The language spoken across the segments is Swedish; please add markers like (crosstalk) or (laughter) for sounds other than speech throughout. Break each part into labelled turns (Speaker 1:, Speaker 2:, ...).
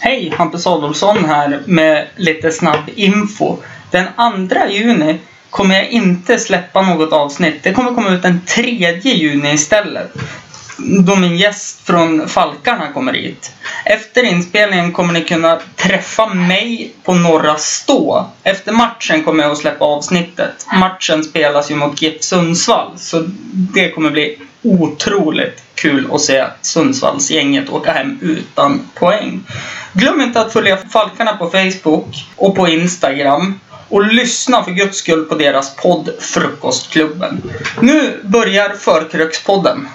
Speaker 1: Hej! Hampus Adolfsson här med lite snabb info. Den 2 juni kommer jag inte släppa något avsnitt. Det kommer komma ut den 3 juni istället. Då min gäst från Falkarna kommer hit. Efter inspelningen kommer ni kunna träffa mig på Norra Stå. Efter matchen kommer jag att släppa avsnittet. Matchen spelas ju mot GIF Sundsvall, så det kommer bli otroligt kul att se Sundsvallsgänget åka hem utan poäng. Glöm inte att följa Falkarna på Facebook och på Instagram. Och lyssna för guds skull på deras podd Frukostklubben. Nu börjar Förkrökspodden.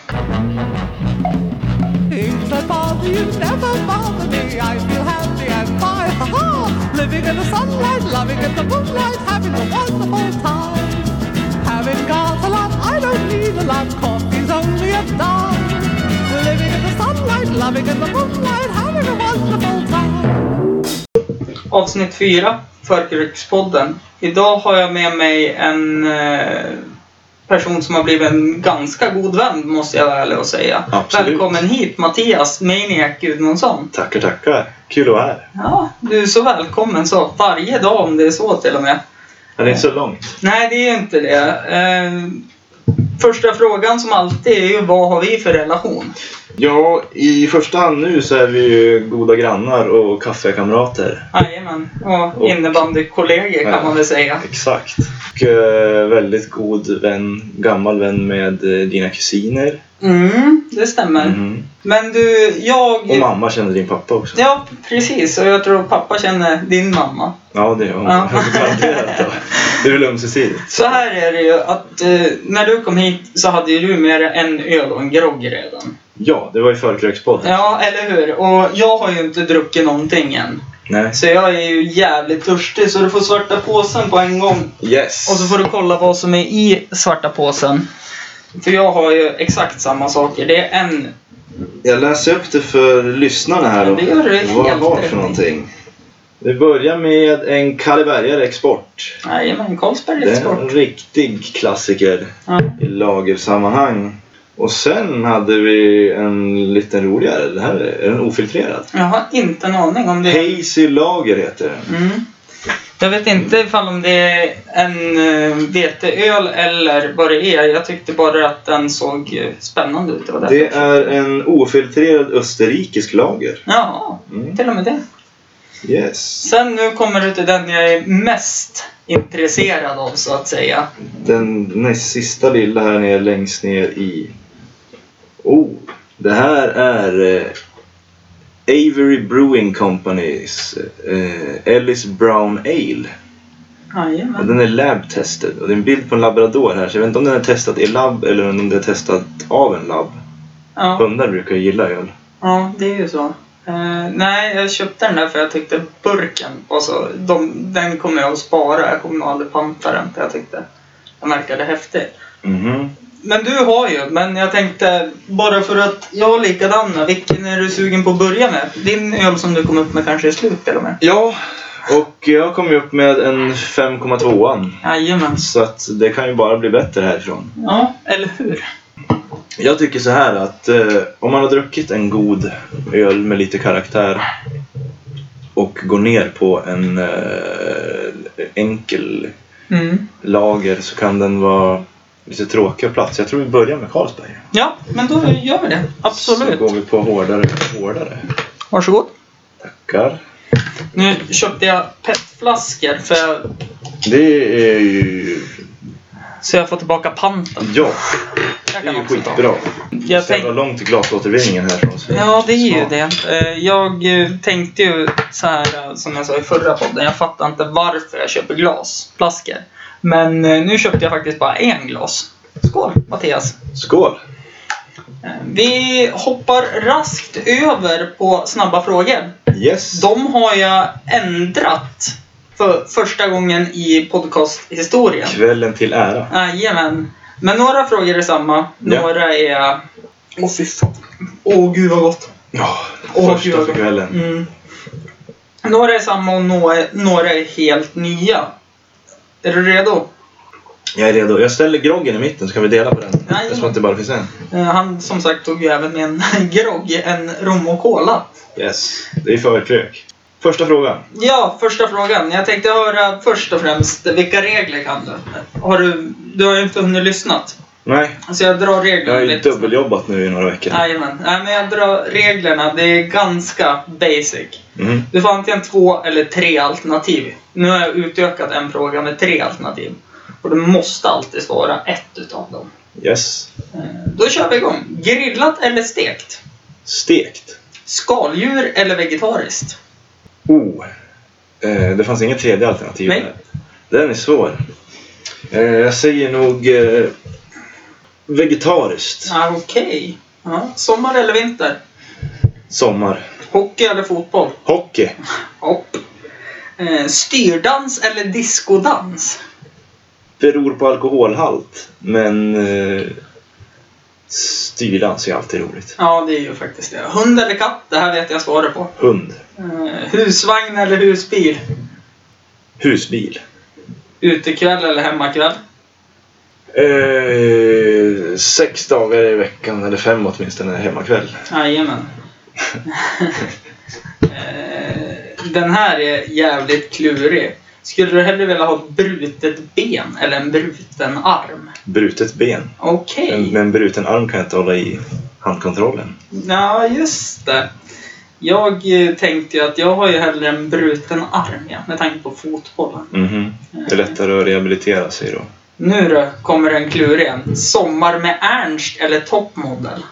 Speaker 2: Things that bother you never bother me. I feel happy and fine. Ha ha! Living in the sunlight, loving in the moonlight, having a wonderful time. Haven't got a lot, I don't need a lot. Coffee's only a dime. Living in the sunlight, loving in the moonlight, having a wonderful time.
Speaker 1: Avsnitt 4, Förkrökspodden. Idag har jag med mig en eh, person som har blivit en ganska god vän, måste jag vara ärlig och säga.
Speaker 3: Absolut.
Speaker 1: Välkommen hit Mattias Maniac Gudmundsson.
Speaker 3: Tackar, tackar. Kul att vara här.
Speaker 1: Ja, du är så välkommen så. Varje dag om det är så till och med.
Speaker 3: Men det är inte så långt.
Speaker 1: Nej, det är ju inte det. Eh, första frågan som alltid är ju vad har vi för relation?
Speaker 3: Ja, i första hand nu så är vi ju goda grannar och kaffekamrater.
Speaker 1: Jajamän, och innebandykollegor kan
Speaker 3: Ja.
Speaker 1: man väl säga.
Speaker 3: Exakt. Och eh, väldigt god vän, gammal vän med eh, dina kusiner.
Speaker 1: Mm, det stämmer.
Speaker 3: Mm.
Speaker 1: Men du, jag...
Speaker 3: Och mamma känner din pappa också.
Speaker 1: Ja, precis. Och jag tror pappa känner din mamma.
Speaker 3: Ja, (laughs) det gör hon.
Speaker 1: Ja.
Speaker 3: Garanterat då. Det är väl ömsesidigt.
Speaker 1: Så här är det ju att eh, när du kom hit så hade ju du med dig en öl och en grogg redan.
Speaker 3: Ja, det var ju förkrökspodden.
Speaker 1: Ja, eller hur? Och jag har ju inte druckit någonting än.
Speaker 3: Nej.
Speaker 1: Så jag är ju jävligt törstig så du får svarta påsen på en gång.
Speaker 3: Yes.
Speaker 1: Och så får du kolla vad som är i svarta påsen. För jag har ju exakt samma saker. Det är en...
Speaker 3: Jag läser upp det för lyssnarna här
Speaker 1: Ja,
Speaker 3: då.
Speaker 1: det gör du helt
Speaker 3: Vad jag har
Speaker 1: rätt i.
Speaker 3: för någonting. Vi börjar med en Kallebergare Export.
Speaker 1: Nej, men Carlsberg
Speaker 3: Det
Speaker 1: är
Speaker 3: är
Speaker 1: sport.
Speaker 3: en riktig klassiker
Speaker 1: Ja.
Speaker 3: i lagersammanhang. Och sen hade vi en liten roligare. Det här är, är den ofiltrerad.
Speaker 1: Jag har inte en aning om det.
Speaker 3: Hazy Lager heter den.
Speaker 1: Mm. Jag vet inte ifall om det är en eh, veteöl eller vad det är. Jag tyckte bara att den såg eh, spännande ut. Det var
Speaker 3: Det
Speaker 1: därför.
Speaker 3: är en ofiltrerad österrikisk lager.
Speaker 1: Ja,
Speaker 3: Mm.
Speaker 1: till och med det.
Speaker 3: Yes.
Speaker 1: Sen nu kommer du till den jag är mest intresserad av så att säga.
Speaker 3: Den näst sista lilla här nere längst ner i... Oh! Det här är eh, Avery Brewing Companys eh, Ellis Brown Ale. Ja,
Speaker 1: Jajamän.
Speaker 3: Den är lab-tested och det är en bild på en labrador här så jag vet inte om den är testad i labb eller om den är testad av en labb.
Speaker 1: Ja,
Speaker 3: Hundar brukar ju gilla öl.
Speaker 1: ja, det är ju så. Eh, nej, jag köpte den där för jag tyckte burken var så... De, den kommer jag att spara. Jag kommer nog aldrig panta den för jag tyckte den verkade häftig.
Speaker 3: Mhm.
Speaker 1: Men du har ju, men jag tänkte bara för att jag har likadana, vilken är du sugen på att börja med? Din öl som du kom upp med kanske är slut till och med?
Speaker 3: Ja, och jag kom ju upp med en 5,2an.
Speaker 1: Jajamän.
Speaker 3: Så att det kan ju bara bli bättre härifrån.
Speaker 1: Ja, eller hur?
Speaker 3: Jag tycker så här att eh, om man har druckit en god öl med lite karaktär och går ner på en eh, enkel
Speaker 1: Mm.
Speaker 3: lager så kan den vara lite tråkig och platt. Så jag tror vi börjar med Carlsberg.
Speaker 1: Ja, men då gör vi det.
Speaker 3: Så
Speaker 1: Absolut.
Speaker 3: går vi på hårdare och hårdare.
Speaker 1: Varsågod.
Speaker 3: Tackar.
Speaker 1: Nu köpte jag petflaskor för jag,
Speaker 3: Det är ju...
Speaker 1: så jag får tillbaka panten.
Speaker 3: Ja,
Speaker 1: Jag
Speaker 3: det är
Speaker 1: kan
Speaker 3: ju
Speaker 1: också ta.
Speaker 3: skitbra.
Speaker 1: Jag
Speaker 3: Så jävla
Speaker 1: tänk...
Speaker 3: långt till glasåtervinningen härifrån. så
Speaker 1: Ja, det är ju
Speaker 3: smart.
Speaker 1: det. Eh, Jag eh, tänkte ju så här eh, som jag sa i förra podden. Jag fattar inte varför jag köper glasflaskor. Men eh, nu köpte jag faktiskt bara en glas. Skål Mattias!
Speaker 3: Skål!
Speaker 1: Eh, Vi hoppar raskt över på snabba frågor.
Speaker 3: Yes!
Speaker 1: De har jag ändrat för första gången i podcasthistorien.
Speaker 3: Kvällen till ära.
Speaker 1: Jajamän. Men några frågor är samma.
Speaker 3: Ja.
Speaker 1: Några är... Åh fy fan. Åh gud vad gott.
Speaker 3: Ja,
Speaker 1: Åh,
Speaker 3: första
Speaker 1: gud.
Speaker 3: för kvällen.
Speaker 1: Mm. Några är samma och några, några är helt nya. Är du redo?
Speaker 3: Jag är redo. Jag ställer groggen i mitten så kan vi dela på den.
Speaker 1: Nej.
Speaker 3: Eftersom att det bara finns en.
Speaker 1: Eh, Han som sagt tog ju även med en (laughs) grogg, en rom och cola.
Speaker 3: Yes. Det är förkrök. Första frågan.
Speaker 1: Ja, första frågan. Jag tänkte höra först och främst, vilka regler kan du? Har du, du har ju inte hunnit lyssnat.
Speaker 3: Nej.
Speaker 1: Så jag drar
Speaker 3: Jag
Speaker 1: reglerna
Speaker 3: har ju dubbeljobbat nu i några veckor.
Speaker 1: Jajamän. Nej, men jag drar reglerna. Det är ganska basic.
Speaker 3: Mhm.
Speaker 1: Du får antingen två eller tre alternativ. Nu har jag utökat en fråga med tre alternativ. Och du måste alltid svara ett utav dem.
Speaker 3: Yes.
Speaker 1: Eh, Då kör vi igång. Grillat eller stekt?
Speaker 3: Stekt.
Speaker 1: Skaldjur eller vegetariskt?
Speaker 3: Oh. Eh, det fanns inget tredje alternativ.
Speaker 1: Nej.
Speaker 3: där. Den är svår. Eh, jag säger nog eh, vegetariskt.
Speaker 1: Ah, Okej. Ja. Sommar eller vinter?
Speaker 3: Sommar.
Speaker 1: Hockey eller fotboll?
Speaker 3: Hockey.
Speaker 1: Hopp. Eh, styrdans eller diskodans?
Speaker 3: Beror på alkoholhalt. Men eh, styrdans är alltid roligt.
Speaker 1: Ja, det är ju faktiskt det. Hund eller katt? Det här vet jag svaret på.
Speaker 3: Hund.
Speaker 1: Eh, husvagn eller husbil?
Speaker 3: Husbil.
Speaker 1: Utekväll eller hemmakväll?
Speaker 3: Eh, sex dagar i veckan, eller fem åtminstone, hemmakväll.
Speaker 1: Jajamän. Eh, Den här är jävligt klurig. Skulle du hellre vilja ha ett brutet ben eller en bruten arm?
Speaker 3: Brutet ben.
Speaker 1: Okej.
Speaker 3: Men, men bruten arm kan jag inte hålla i handkontrollen.
Speaker 1: Ja, just det. Jag eh, tänkte ju att jag har ju hellre en bruten arm ja, med tanke på fotbollen.
Speaker 3: Mhm. Det är lättare att rehabilitera sig då.
Speaker 1: Nu då kommer en klurig en. Sommar med Ernst eller toppmodell?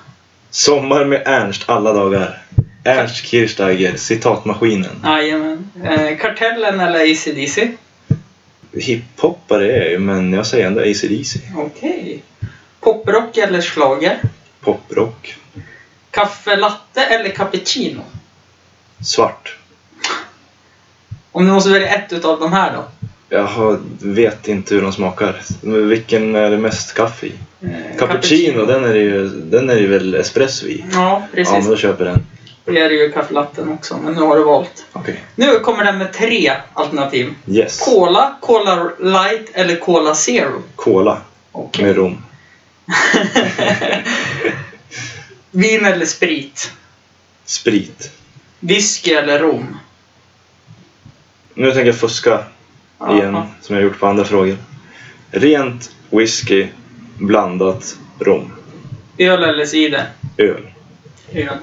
Speaker 3: Sommar med Ernst alla dagar. Ernst Kirchsteiger, citatmaskinen.
Speaker 1: Jajamän. Eh, Kartellen eller ACDC?
Speaker 3: Hiphoppare är jag ju, men jag säger ändå AC/DC.
Speaker 1: Okej. Poprock eller schlager?
Speaker 3: Poprock.
Speaker 1: Kaffe latte eller cappuccino?
Speaker 3: Svart.
Speaker 1: Om du måste välja ett utav de här då?
Speaker 3: Jag har, vet inte hur de smakar. Men Vilken är det mest kaffe i?
Speaker 1: Eh,
Speaker 3: Cappuccino, den är det ju, den är det väl espresso i?
Speaker 1: Ja,
Speaker 3: Ja, men
Speaker 1: precis.
Speaker 3: då köper jag den.
Speaker 1: Det är ju kaffe latten också, men nu har du valt.
Speaker 3: Okej.
Speaker 1: Nu kommer den med tre alternativ.
Speaker 3: Yes.
Speaker 1: Cola, Cola Light eller Cola Zero?
Speaker 3: Cola
Speaker 1: Okej.
Speaker 3: med rom.
Speaker 1: (laughs) Vin eller sprit?
Speaker 3: Sprit.
Speaker 1: Whisky eller rom?
Speaker 3: Nu tänker jag fuska igen,
Speaker 1: Jaha.
Speaker 3: som jag gjort på andra frågor. Rent whisky blandat rom.
Speaker 1: Öl eller cider?
Speaker 3: Öl.
Speaker 1: Öl.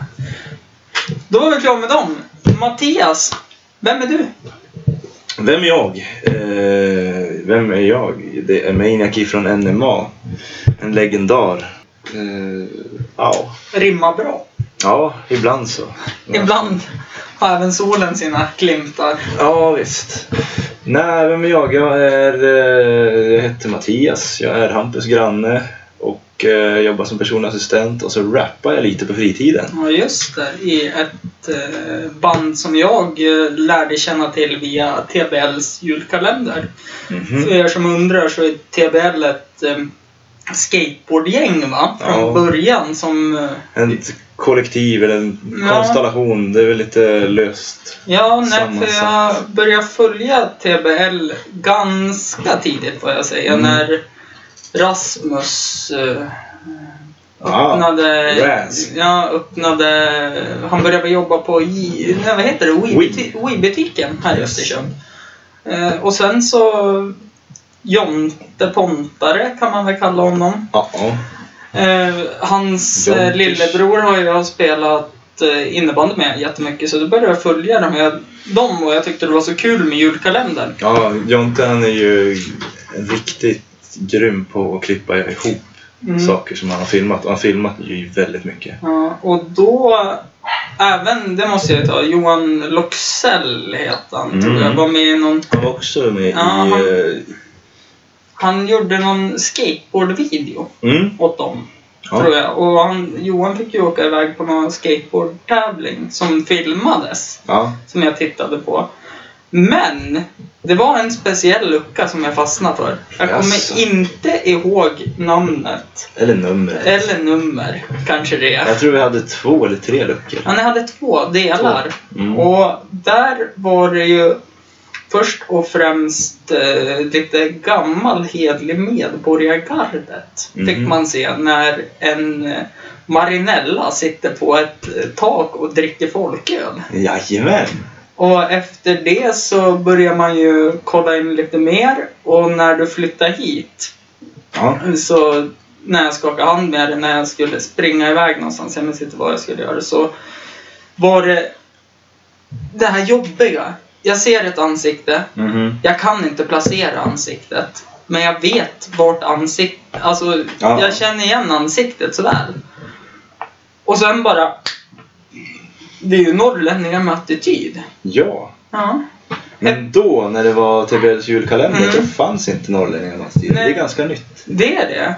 Speaker 1: Då var vi klara med dem. Mattias, vem är du?
Speaker 3: Vem är jag? Eh, vem är jag? Det är Maniac ifrån NMA. En legendar. Eh, ja.
Speaker 1: Rimmar bra.
Speaker 3: ja, ibland så.
Speaker 1: Ibland har även solen sina glimtar.
Speaker 3: Ja, visst. Nej, vem är jag? Jag, är, eh, jag heter Mattias. Jag är Hampus granne och eh, jobbar som personlig assistent och så rappar jag lite på fritiden.
Speaker 1: Ja, just det. I ett eh, band som jag eh, lärde känna till via TBLs julkalender.
Speaker 3: Mhm.
Speaker 1: För er som undrar så är TBL ett eh, skateboardgäng va? Från
Speaker 3: Ja.
Speaker 1: början som... Eh,
Speaker 3: Ett kollektiv eller en
Speaker 1: Ja.
Speaker 3: konstellation. Det är väl lite löst.
Speaker 1: ja, nej,
Speaker 3: Sammansatt.
Speaker 1: för jag började följa TBL ganska tidigt får jag säga.
Speaker 3: Mm.
Speaker 1: När Rasmus eh,
Speaker 3: Ja,
Speaker 1: öppnade...
Speaker 3: Raz.
Speaker 1: Ja, öppnade... Han började jobba på... J- Nej, vad heter det? Wii-buti- Wii-butiken här i
Speaker 3: Yes.
Speaker 1: Östersund. Eh, och sen så... Jonte Pontare kan man väl kalla honom.
Speaker 3: ja, ja.
Speaker 1: Eh, hans eh,
Speaker 3: Jontish.
Speaker 1: lillebror har jag spelat eh, innebandy med jättemycket så då började jag följa dem, jag, dem och jag tyckte det var så kul med julkalendern.
Speaker 3: ja Jonte han är ju riktigt grym på att klippa ihop
Speaker 1: Mm.
Speaker 3: saker som han har filmat. Och han har filmat ju väldigt mycket.
Speaker 1: Ja, och då även, det måste jag ta, Johan Loxell heter han tror jag,
Speaker 3: Mm.
Speaker 1: var med i någon
Speaker 3: Han var också med
Speaker 1: Ja, han-
Speaker 3: i... eh,
Speaker 1: Han gjorde någon skateboardvideo
Speaker 3: Mm,
Speaker 1: åt dem.
Speaker 3: Ja.
Speaker 1: Tror jag. Och han, Johan fick ju åka iväg på någon skateboardtävling som filmades.
Speaker 3: ja.
Speaker 1: Som jag tittade på. Men det var en speciell lucka som jag fastnade för. Jag kommer
Speaker 3: Jaså.
Speaker 1: inte ihåg namnet.
Speaker 3: Eller numret.
Speaker 1: Eller nummer, kanske det. är.
Speaker 3: Jag tror vi hade två eller tre luckor.
Speaker 1: Ja, ni hade två delar.
Speaker 3: Mm.
Speaker 1: Och där var det ju först och främst eh, lite gammal hedlig medborgargardet.
Speaker 3: Mhm.
Speaker 1: Fick man se när en eh, Marinella sitter på ett eh, tak och dricker folköl.
Speaker 3: Jajamän!
Speaker 1: Och efter det så börjar man ju kolla in lite mer och när du flyttar hit
Speaker 3: Ja.
Speaker 1: så när jag skakade hand med det när jag skulle springa iväg någonstans, jag minns inte vad jag skulle göra, så var det det här jobbiga. Jag ser ett ansikte,
Speaker 3: Mhm.
Speaker 1: jag kan inte placera ansiktet, men jag vet vart ansiktet, alltså
Speaker 3: Ja.
Speaker 1: jag känner igen ansiktet så väl. Och sen bara, det är ju norrlänningar med attityd.
Speaker 3: Ja.
Speaker 1: Ja.
Speaker 3: Men då, när det var TBLs julkalender,
Speaker 1: Mm.
Speaker 3: då fanns inte norrlänningarna någonstans. Det
Speaker 1: Nej.
Speaker 3: är ganska nytt.
Speaker 1: Det är det.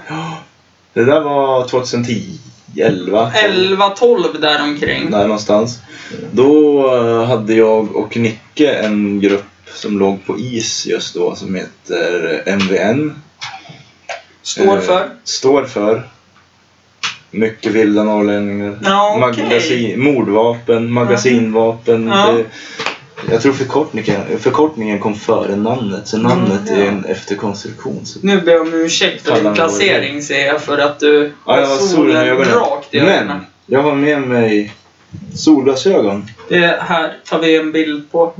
Speaker 3: Det där var 2010, 11,
Speaker 1: 11-12 däromkring.
Speaker 3: där någonstans. Då eh, hade jag och Nicke en grupp som låg på is just då som heter eh, MVN.
Speaker 1: Står
Speaker 3: Eh,
Speaker 1: för?
Speaker 3: Står för. Mycket vilda norrlänningar.
Speaker 1: Ja, okej.
Speaker 3: Magasin, mordvapen, magasinvapen.
Speaker 1: Ja.
Speaker 3: Det, jag tror förkortningen, förkortningen kom före namnet, så namnet
Speaker 1: Mm, ja.
Speaker 3: är en efterkonstruktion. Så.
Speaker 1: Nu ber jag om ursäkt för din
Speaker 3: Fallande
Speaker 1: placering ser jag för att du
Speaker 3: Ja, jag har solen i ögonen.
Speaker 1: rakt i ögonen.
Speaker 3: Men jag har med mig solglasögon.
Speaker 1: Det här tar vi en bild på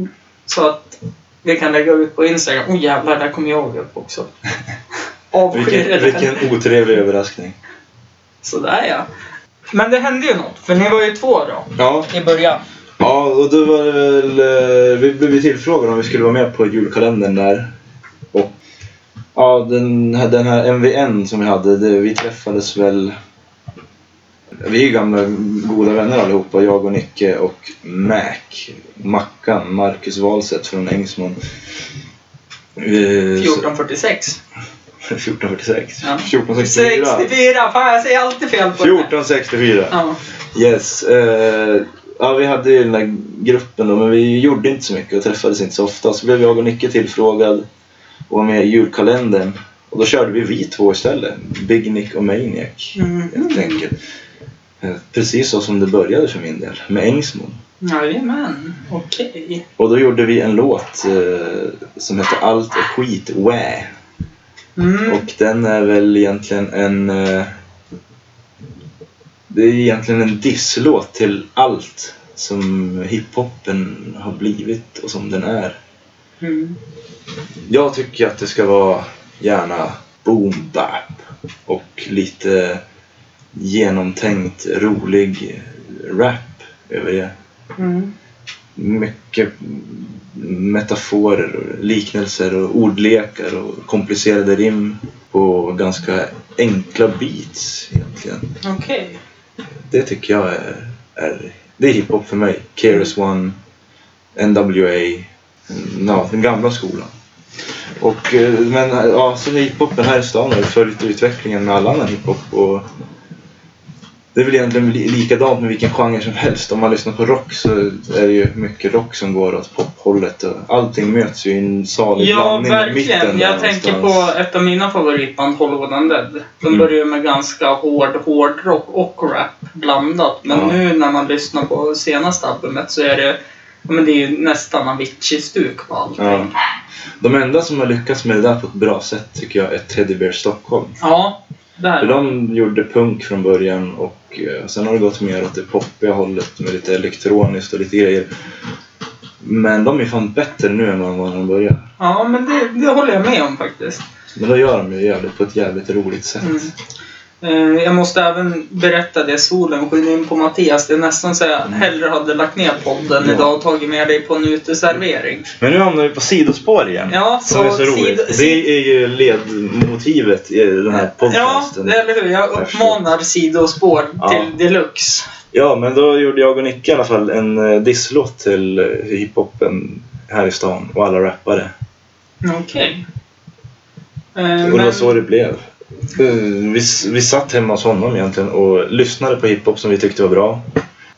Speaker 1: så att vi kan lägga ut på Instagram. Åh oh, jävlar, där kommer jag upp
Speaker 3: (laughs)
Speaker 1: också. Avskyr
Speaker 3: Vilken,
Speaker 1: vilken...
Speaker 3: vilken otrevlig överraskning.
Speaker 1: Sådär ja. Men det hände ju något, för ni var ju två då
Speaker 3: Ja,
Speaker 1: i början.
Speaker 3: ja och då var det väl... eh, Vi blev ju tillfrågade om vi skulle vara med på julkalendern där. Och ja, den, här- den här MVN som vi hade, det, vi träffades väl... Vi är ju gamla goda vänner allihopa, jag och Nicke och Mac. Mackan, Marcus Wahlstedt från Ängsmon. Eh, så- (laughs)
Speaker 1: 1446.
Speaker 3: 1446.
Speaker 1: Ja.
Speaker 3: 1464.
Speaker 1: 64! Fan, jag säger alltid fel på det.
Speaker 3: 1464.
Speaker 1: Ja.
Speaker 3: Yes. eh, ja, vi hade ju den där gruppen då, men vi gjorde inte så mycket och träffades inte så ofta. Så blev jag och Nicke tillfrågad och var med i julkalendern. Och då körde vi vi två istället. Big Nick och Maniac,
Speaker 1: Mhm.
Speaker 3: helt enkelt. Eh, Precis så som det började för min del, med Ängsmon.
Speaker 1: Jajamän, okej.
Speaker 3: Och då gjorde vi en låt eh, som hette Allt är skit, wä.
Speaker 1: Mm.
Speaker 3: Och den är väl egentligen en... eh, Det är egentligen en disslåt till allt som hiphopen har blivit och som den är.
Speaker 1: Mm.
Speaker 3: Jag tycker att det ska vara gärna boom bap och lite genomtänkt rolig rap över det.
Speaker 1: Mm.
Speaker 3: Mycket metaforer, och liknelser och ordlekar och komplicerade rim på ganska enkla beats egentligen.
Speaker 1: Okej.
Speaker 3: Det tycker jag är, är det är hiphop för mig. KRS
Speaker 1: Mm.
Speaker 3: One, NWA, ja, den gamla skolan. Och, eh, men ja, så hiphopen här i stan har ju följt utvecklingen med all annan hiphop och det är väl egentligen li- likadant med vilken genre som helst. Om man lyssnar på rock så är det ju mycket rock som går åt pophållet och allting möts ju i en salig
Speaker 1: Ja,
Speaker 3: blandning i mitten.
Speaker 1: verkligen.
Speaker 3: där
Speaker 1: Jag tänker
Speaker 3: någonstans.
Speaker 1: på ett av mina favoritband, Hollywood Undead. De
Speaker 3: Mm.
Speaker 1: började ju med ganska hård hårdrock och rap blandat. Men
Speaker 3: Ja.
Speaker 1: nu när man lyssnar på senaste albumet så är det, ja, men det är ju nästan Avicii-stuk på allting.
Speaker 3: Ja.
Speaker 1: Ja.
Speaker 3: De enda som har lyckats med det där på ett bra sätt tycker jag är Teddy Bear Stockholm. För
Speaker 1: där.
Speaker 3: de gjorde punk från början och eh, sen har det gått mer åt det poppiga hållet med lite elektroniskt och lite grejer. Men de är fan bättre nu än vad de var när de började.
Speaker 1: Ja, men det, det håller jag med om faktiskt.
Speaker 3: Men då gör de ju jävligt på ett jävligt roligt sätt.
Speaker 1: Mm. Eh, Jag måste även berätta det, solen skiner in på Mattias. Det är nästan så jag hellre hade lagt ner podden
Speaker 3: Mm. Ja.
Speaker 1: idag och tagit med dig på en uteservering.
Speaker 3: Men nu hamnar vi på sidospår igen.
Speaker 1: Ja,
Speaker 3: som är så
Speaker 1: så
Speaker 3: roligt.
Speaker 1: sido-
Speaker 3: Det är ju ledmotivet i den här podcasten.
Speaker 1: Ja, eller hur. Jag uppmanar sidospår
Speaker 3: Ja.
Speaker 1: till deluxe.
Speaker 3: Ja, men då gjorde jag och Nicke i alla fall en eh, disslåt till eh, hiphopen här i stan och alla rappare.
Speaker 1: Okej. Eh,
Speaker 3: Och det var
Speaker 1: Men,
Speaker 3: så det blev. Eh, Vi, vi satt hemma hos honom egentligen och lyssnade på hiphop som vi tyckte var bra.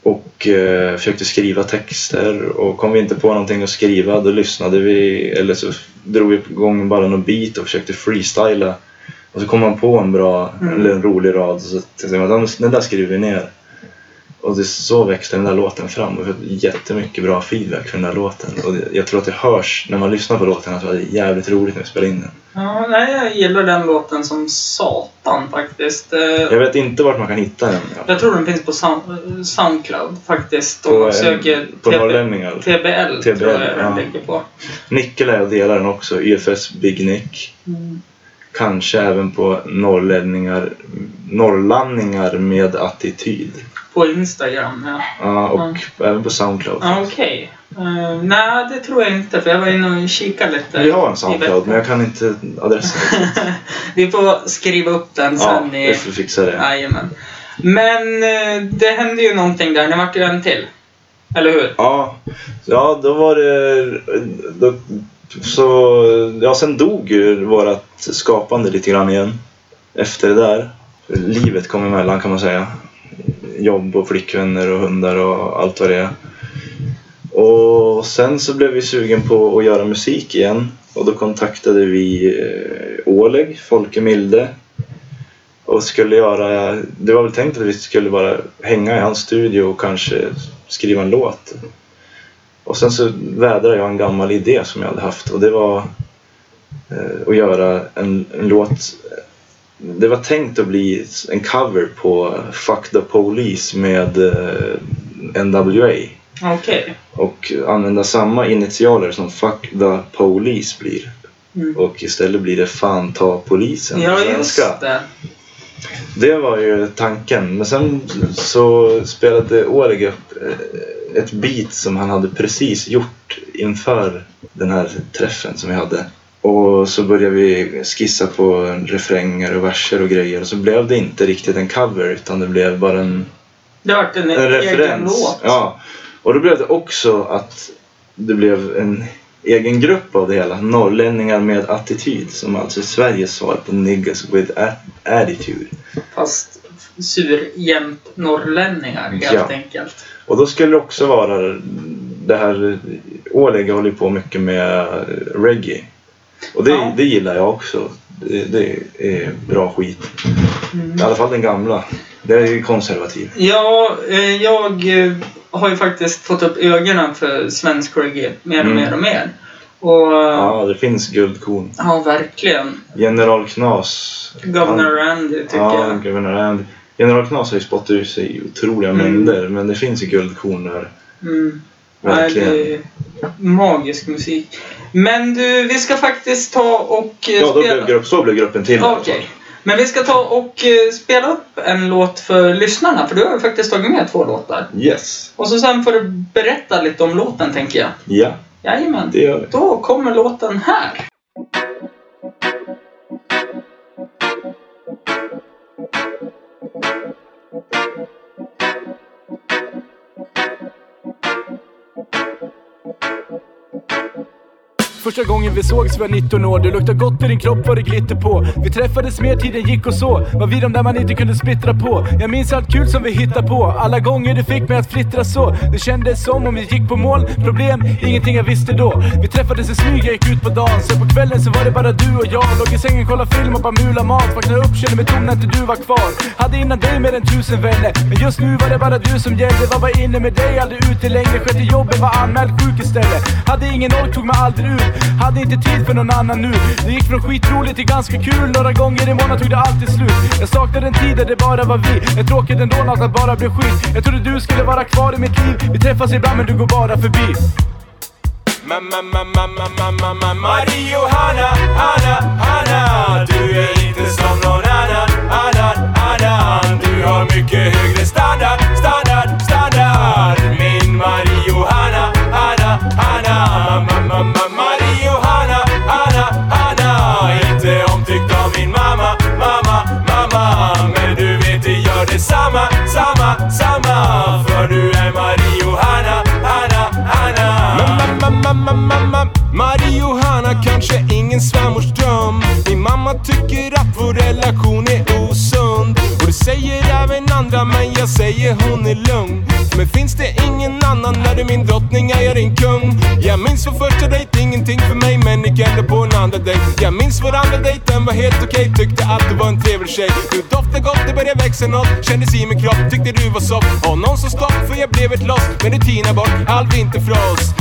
Speaker 3: Och eh, försökte skriva texter och kom vi inte på någonting att skriva då lyssnade vi eller så drog vi igång bara någon beat och försökte freestyla. Och så kom man på en bra
Speaker 1: Mm.
Speaker 3: eller en rolig rad och så tänkte jag att den där skriver vi ner. Och det, så växte den där låten fram och jag fick jättemycket bra feedback för den där låten. Och det- jag tror att det hörs när man lyssnar på låten att det var jävligt roligt när vi spelade in den.
Speaker 1: Ja, nej, jag gillar den låten som satan faktiskt. Eh,
Speaker 3: Jag vet inte vart man kan hitta den.
Speaker 1: Jag tror den finns på Sound- Soundcloud faktiskt. Om
Speaker 3: På,
Speaker 1: man
Speaker 3: eh,
Speaker 1: söker
Speaker 3: på
Speaker 1: TB
Speaker 3: norrlänningar.
Speaker 1: TBL,
Speaker 3: TBL,
Speaker 1: tror jag den
Speaker 3: ja.
Speaker 1: ligger på.
Speaker 3: Nickel är och delar den också. YFS Big Nick.
Speaker 1: Mm.
Speaker 3: Kanske även på norrlänningar, norrlanningar med attityd.
Speaker 1: På Instagram, ja.
Speaker 3: Ja, och även på Soundcloud.
Speaker 1: ja Okej. Eh, nej, det tror jag inte för jag var inne och kikade lite.
Speaker 3: Vi har en
Speaker 1: i
Speaker 3: Soundcloud men
Speaker 1: veckan.
Speaker 3: jag kan inte adressen.
Speaker 1: (laughs) Vi får skriva upp den
Speaker 3: ja,
Speaker 1: (laughs) sen. i...
Speaker 3: vi får fixa det.
Speaker 1: Jajamän. Men eh, det hände ju någonting där. Det vart ju en till. Eller hur?
Speaker 3: Ja, ja då var det... Då, så, ja, sen dog ju vårt skapande lite grann igen. Efter det där. Livet kom emellan kan man säga. Jobb och flickvänner och hundar och allt vad det är. Och sen så blev vi sugen på att göra musik igen. Och då kontaktade vi eh, Oleg, Folke Milde. Och skulle göra, det var väl tänkt att vi skulle bara hänga i hans studio och kanske skriva en låt. Och sen så vädrade jag en gammal idé som jag hade haft och det var eh, att göra en, en låt. Det var tänkt att bli en cover på Fuck the Police med eh, NWA
Speaker 1: Okej.
Speaker 3: och använda samma initialer som Fuck the Police blir.
Speaker 1: Mm.
Speaker 3: Och istället blir det Fan ta polisen på
Speaker 1: Ja,
Speaker 3: svenska.
Speaker 1: just det.
Speaker 3: Det var ju tanken. Men sen så spelade Oleg upp eh, ett beat som han hade precis gjort inför den här träffen som vi hade. Och så började vi skissa på refränger och verser och grejer. Och så blev det inte riktigt en cover utan det blev bara en
Speaker 1: Det vart en,
Speaker 3: en
Speaker 1: egen
Speaker 3: referens.
Speaker 1: låt.
Speaker 3: Ja. Och då blev det också att det blev en egen grupp av det hela. Norrlänningar med attityd som alltså är Sveriges svar på niggas with a- attitude.
Speaker 1: Fast surjämt norrlänningar helt
Speaker 3: Ja.
Speaker 1: enkelt.
Speaker 3: Och då skulle det också vara det här Oleg håller ju på mycket med reggae. Och det,
Speaker 1: Ja.
Speaker 3: det gillar jag också. Det, det är bra skit.
Speaker 1: Mm.
Speaker 3: I alla fall den gamla. Det är ju konservativ.
Speaker 1: Ja, eh, jag eh, har ju faktiskt fått upp ögonen för svensk reggae mer och
Speaker 3: Mm.
Speaker 1: mer och mer. Och ja,
Speaker 3: Ja, det finns guldkorn.
Speaker 1: verkligen.
Speaker 3: General Knas.
Speaker 1: Governor Randy tycker
Speaker 3: ja,
Speaker 1: jag.
Speaker 3: Governor Andy. General Knas har ju spottat ur sig otroliga
Speaker 1: Mm.
Speaker 3: mängder men det finns ju guldkorn där.
Speaker 1: Mm. Nej,
Speaker 3: Verkligen.
Speaker 1: det är magisk musik. Men du, vi ska faktiskt ta och eh,
Speaker 3: ja, då blev grupp, så blev gruppen till. i alla
Speaker 1: Okej.
Speaker 3: fall.
Speaker 1: Men vi ska ta och eh, spela upp en låt för lyssnarna, för du har ju faktiskt tagit med två låtar.
Speaker 3: Yes.
Speaker 1: Och så sen får du berätta lite om låten, tänker jag.
Speaker 3: Ja,
Speaker 1: Jajamän.
Speaker 3: det gör vi.
Speaker 1: Då kommer låten här.
Speaker 4: Första gången vi sågs var jag 19 år, du luktade gott i din kropp var det glitter på Vi träffades mer, tiden gick och så Var vi de där man inte kunde splittra på Jag minns allt kul som vi hittade på Alla gånger du fick mig att flittra så Det kändes som om vi gick på moln Problem, ingenting jag visste då Vi träffades i smyg, jag gick ut på dagen Sen på kvällen så var det bara du och jag Låg i sängen, kollade film och bara mula mat Vaknade upp, kände mig tom när inte du var kvar Hade innan dig mer än tusen vänner Men just nu var det bara du som gällde Var bara inne med dig, aldrig ute längre Skötte jobbet, var anmäld sjuk istället Hade ingen ork, tog mig aldrig ut Hade inte tid för någon annan nu Det gick från skitroligt till ganska kul Några gånger i månaden tog det alltid slut Jag saknade en tid där det bara var vi Det är tråkigt ändå när allt bara blev skit Jag trodde du skulle vara kvar i mitt liv Vi träffas ibland men du går bara förbi
Speaker 5: Ma- ma- ma- ma- ma- ma- ma- ma- Mario Hanna, Hanna, Hanna Du är inte som någon annan, annan, annan Du har mycket högre standard, standard, standard Min Mario Hanna, Hanna, Hanna Ma- ma- ma- Mario Hanna, Hanna, Hanna Inte omtyckt av min mamma, mamma, mamma Men du vet det gör detsamma, samma, samma För du är Mario Hanna, Hanna, Hanna
Speaker 6: Mamma, mamma, mamma, Marie-Johanna kanske ingen svärmors dröm Min mamma tycker att vår relation är osund Och det säger även andra men jag säger hon är lugn Men finns det ingen annan När du är min drottning, jag är din kung Jag minns vår första dejt, ingenting för mig Men gick ändå på en andra dejt Jag minns vår andra dejt, den var helt okej Tyckte att du var en trevlig tjej Du doftade gott, det började växa något Kändes i min kropp, tyckte du var soft Har någon som stopp, för jag blev ett loss Men du tinade bort all vinterfrost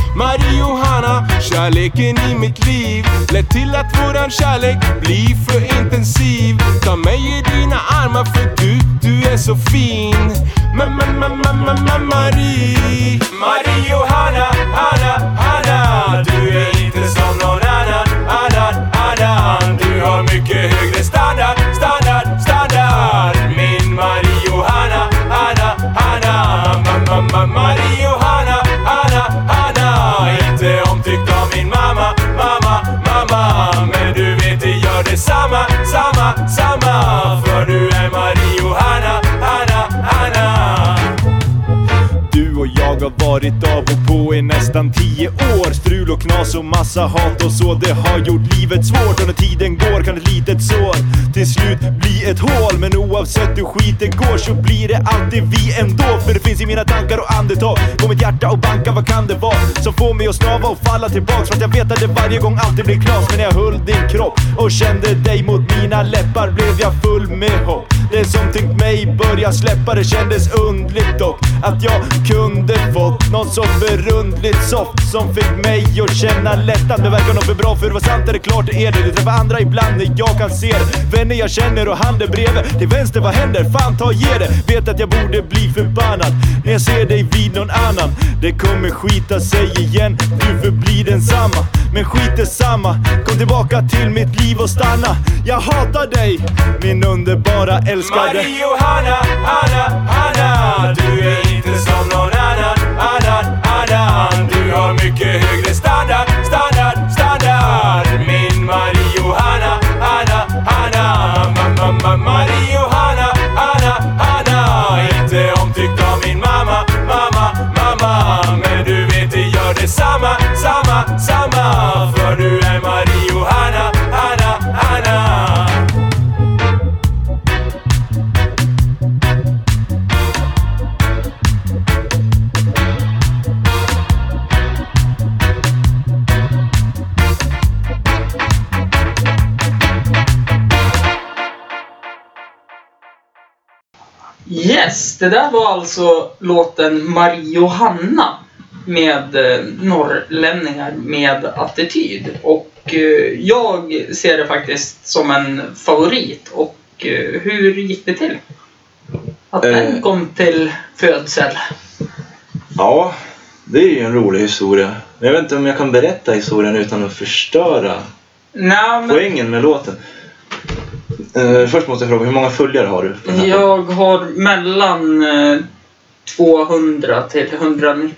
Speaker 6: Marie-Johanna, kärleken i mitt liv Lät till att våran kärlek blir för intensiv Ta mig i dina armar för du, du är så fin men, men, men, men, men, men, Marie Marie-Johanna, Hanna, Hanna Du är inte som någon annan, annan, annan Du har mycket högre standard, standard, standard Min Marie-Johanna, Hanna, Hanna Ma, ma, ma, Marie-Johanna, Hanna, Hanna Inte omtyckt av min mamma, mamma, mamma Men du vet, det gör detsamma, samma, samma För du är Marie-Johanna, Hanna, Hanna
Speaker 7: Du och jag har varit av och på i nästan tio år Strul och knas och massa hat och så Det har gjort livet svårt och när tiden går kan ett litet sår till slut bli ett hål Men oavsett hur skiten går så blir det alltid vi ändå För det finns i mina tankar och andetag På mitt hjärta och banka, vad kan det vara? Som får mig att snava och falla tillbaks För att jag vet att det varje gång alltid blir knas Men när jag höll din kropp och kände dig mot mina läppar Blev jag full med hopp Det som tyckt mig börja släppa Det kändes undligt dock Att jag kunde fått någon så förundligt soft Som fick mig att känna lättnad Men verkar nog för bra för det var sant är det klart det är det Du träffar andra ibland när jag kan se det Vänner jag känner och handen bredvid Till vänster, vad händer? Fan ta och ge det Vet att jag borde bli förbannad När jag ser dig vid någon annan Det kommer skita sig igen Du förblir densamma Men skit är samma Kom tillbaka till mitt liv och stanna Jag hatar dig Min underbara älskade
Speaker 6: Marie-Johanna, Hanna, Hanna Du är inte som någon annan, annan, annan Du har mycket högre standard, standard, standard Min Marie-Johanna, Hanna, Hanna Ma, ma, ma, Marie-Johanna, Hanna, Hanna Inte omtyckt av min mamma, mamma, mamma Men du vet, det gör detsamma, samma, samma För du är Marie-Johanna, Hanna, Hanna
Speaker 1: Yes, det där var alltså låten Marie och Hanna med eh, norrlänningar med attityd. Och eh, jag ser det faktiskt som en favorit. Och eh, hur gick det till? Att den
Speaker 3: Eh.
Speaker 1: kom till födsel.
Speaker 3: Ja, det är ju en rolig historia. Men jag vet inte om jag kan berätta historien utan att förstöra
Speaker 1: Nej, men
Speaker 3: poängen med låten. Eh, först måste jag fråga, hur många följare har du? på den här podden?
Speaker 1: jag har mellan eh, 200 till 190.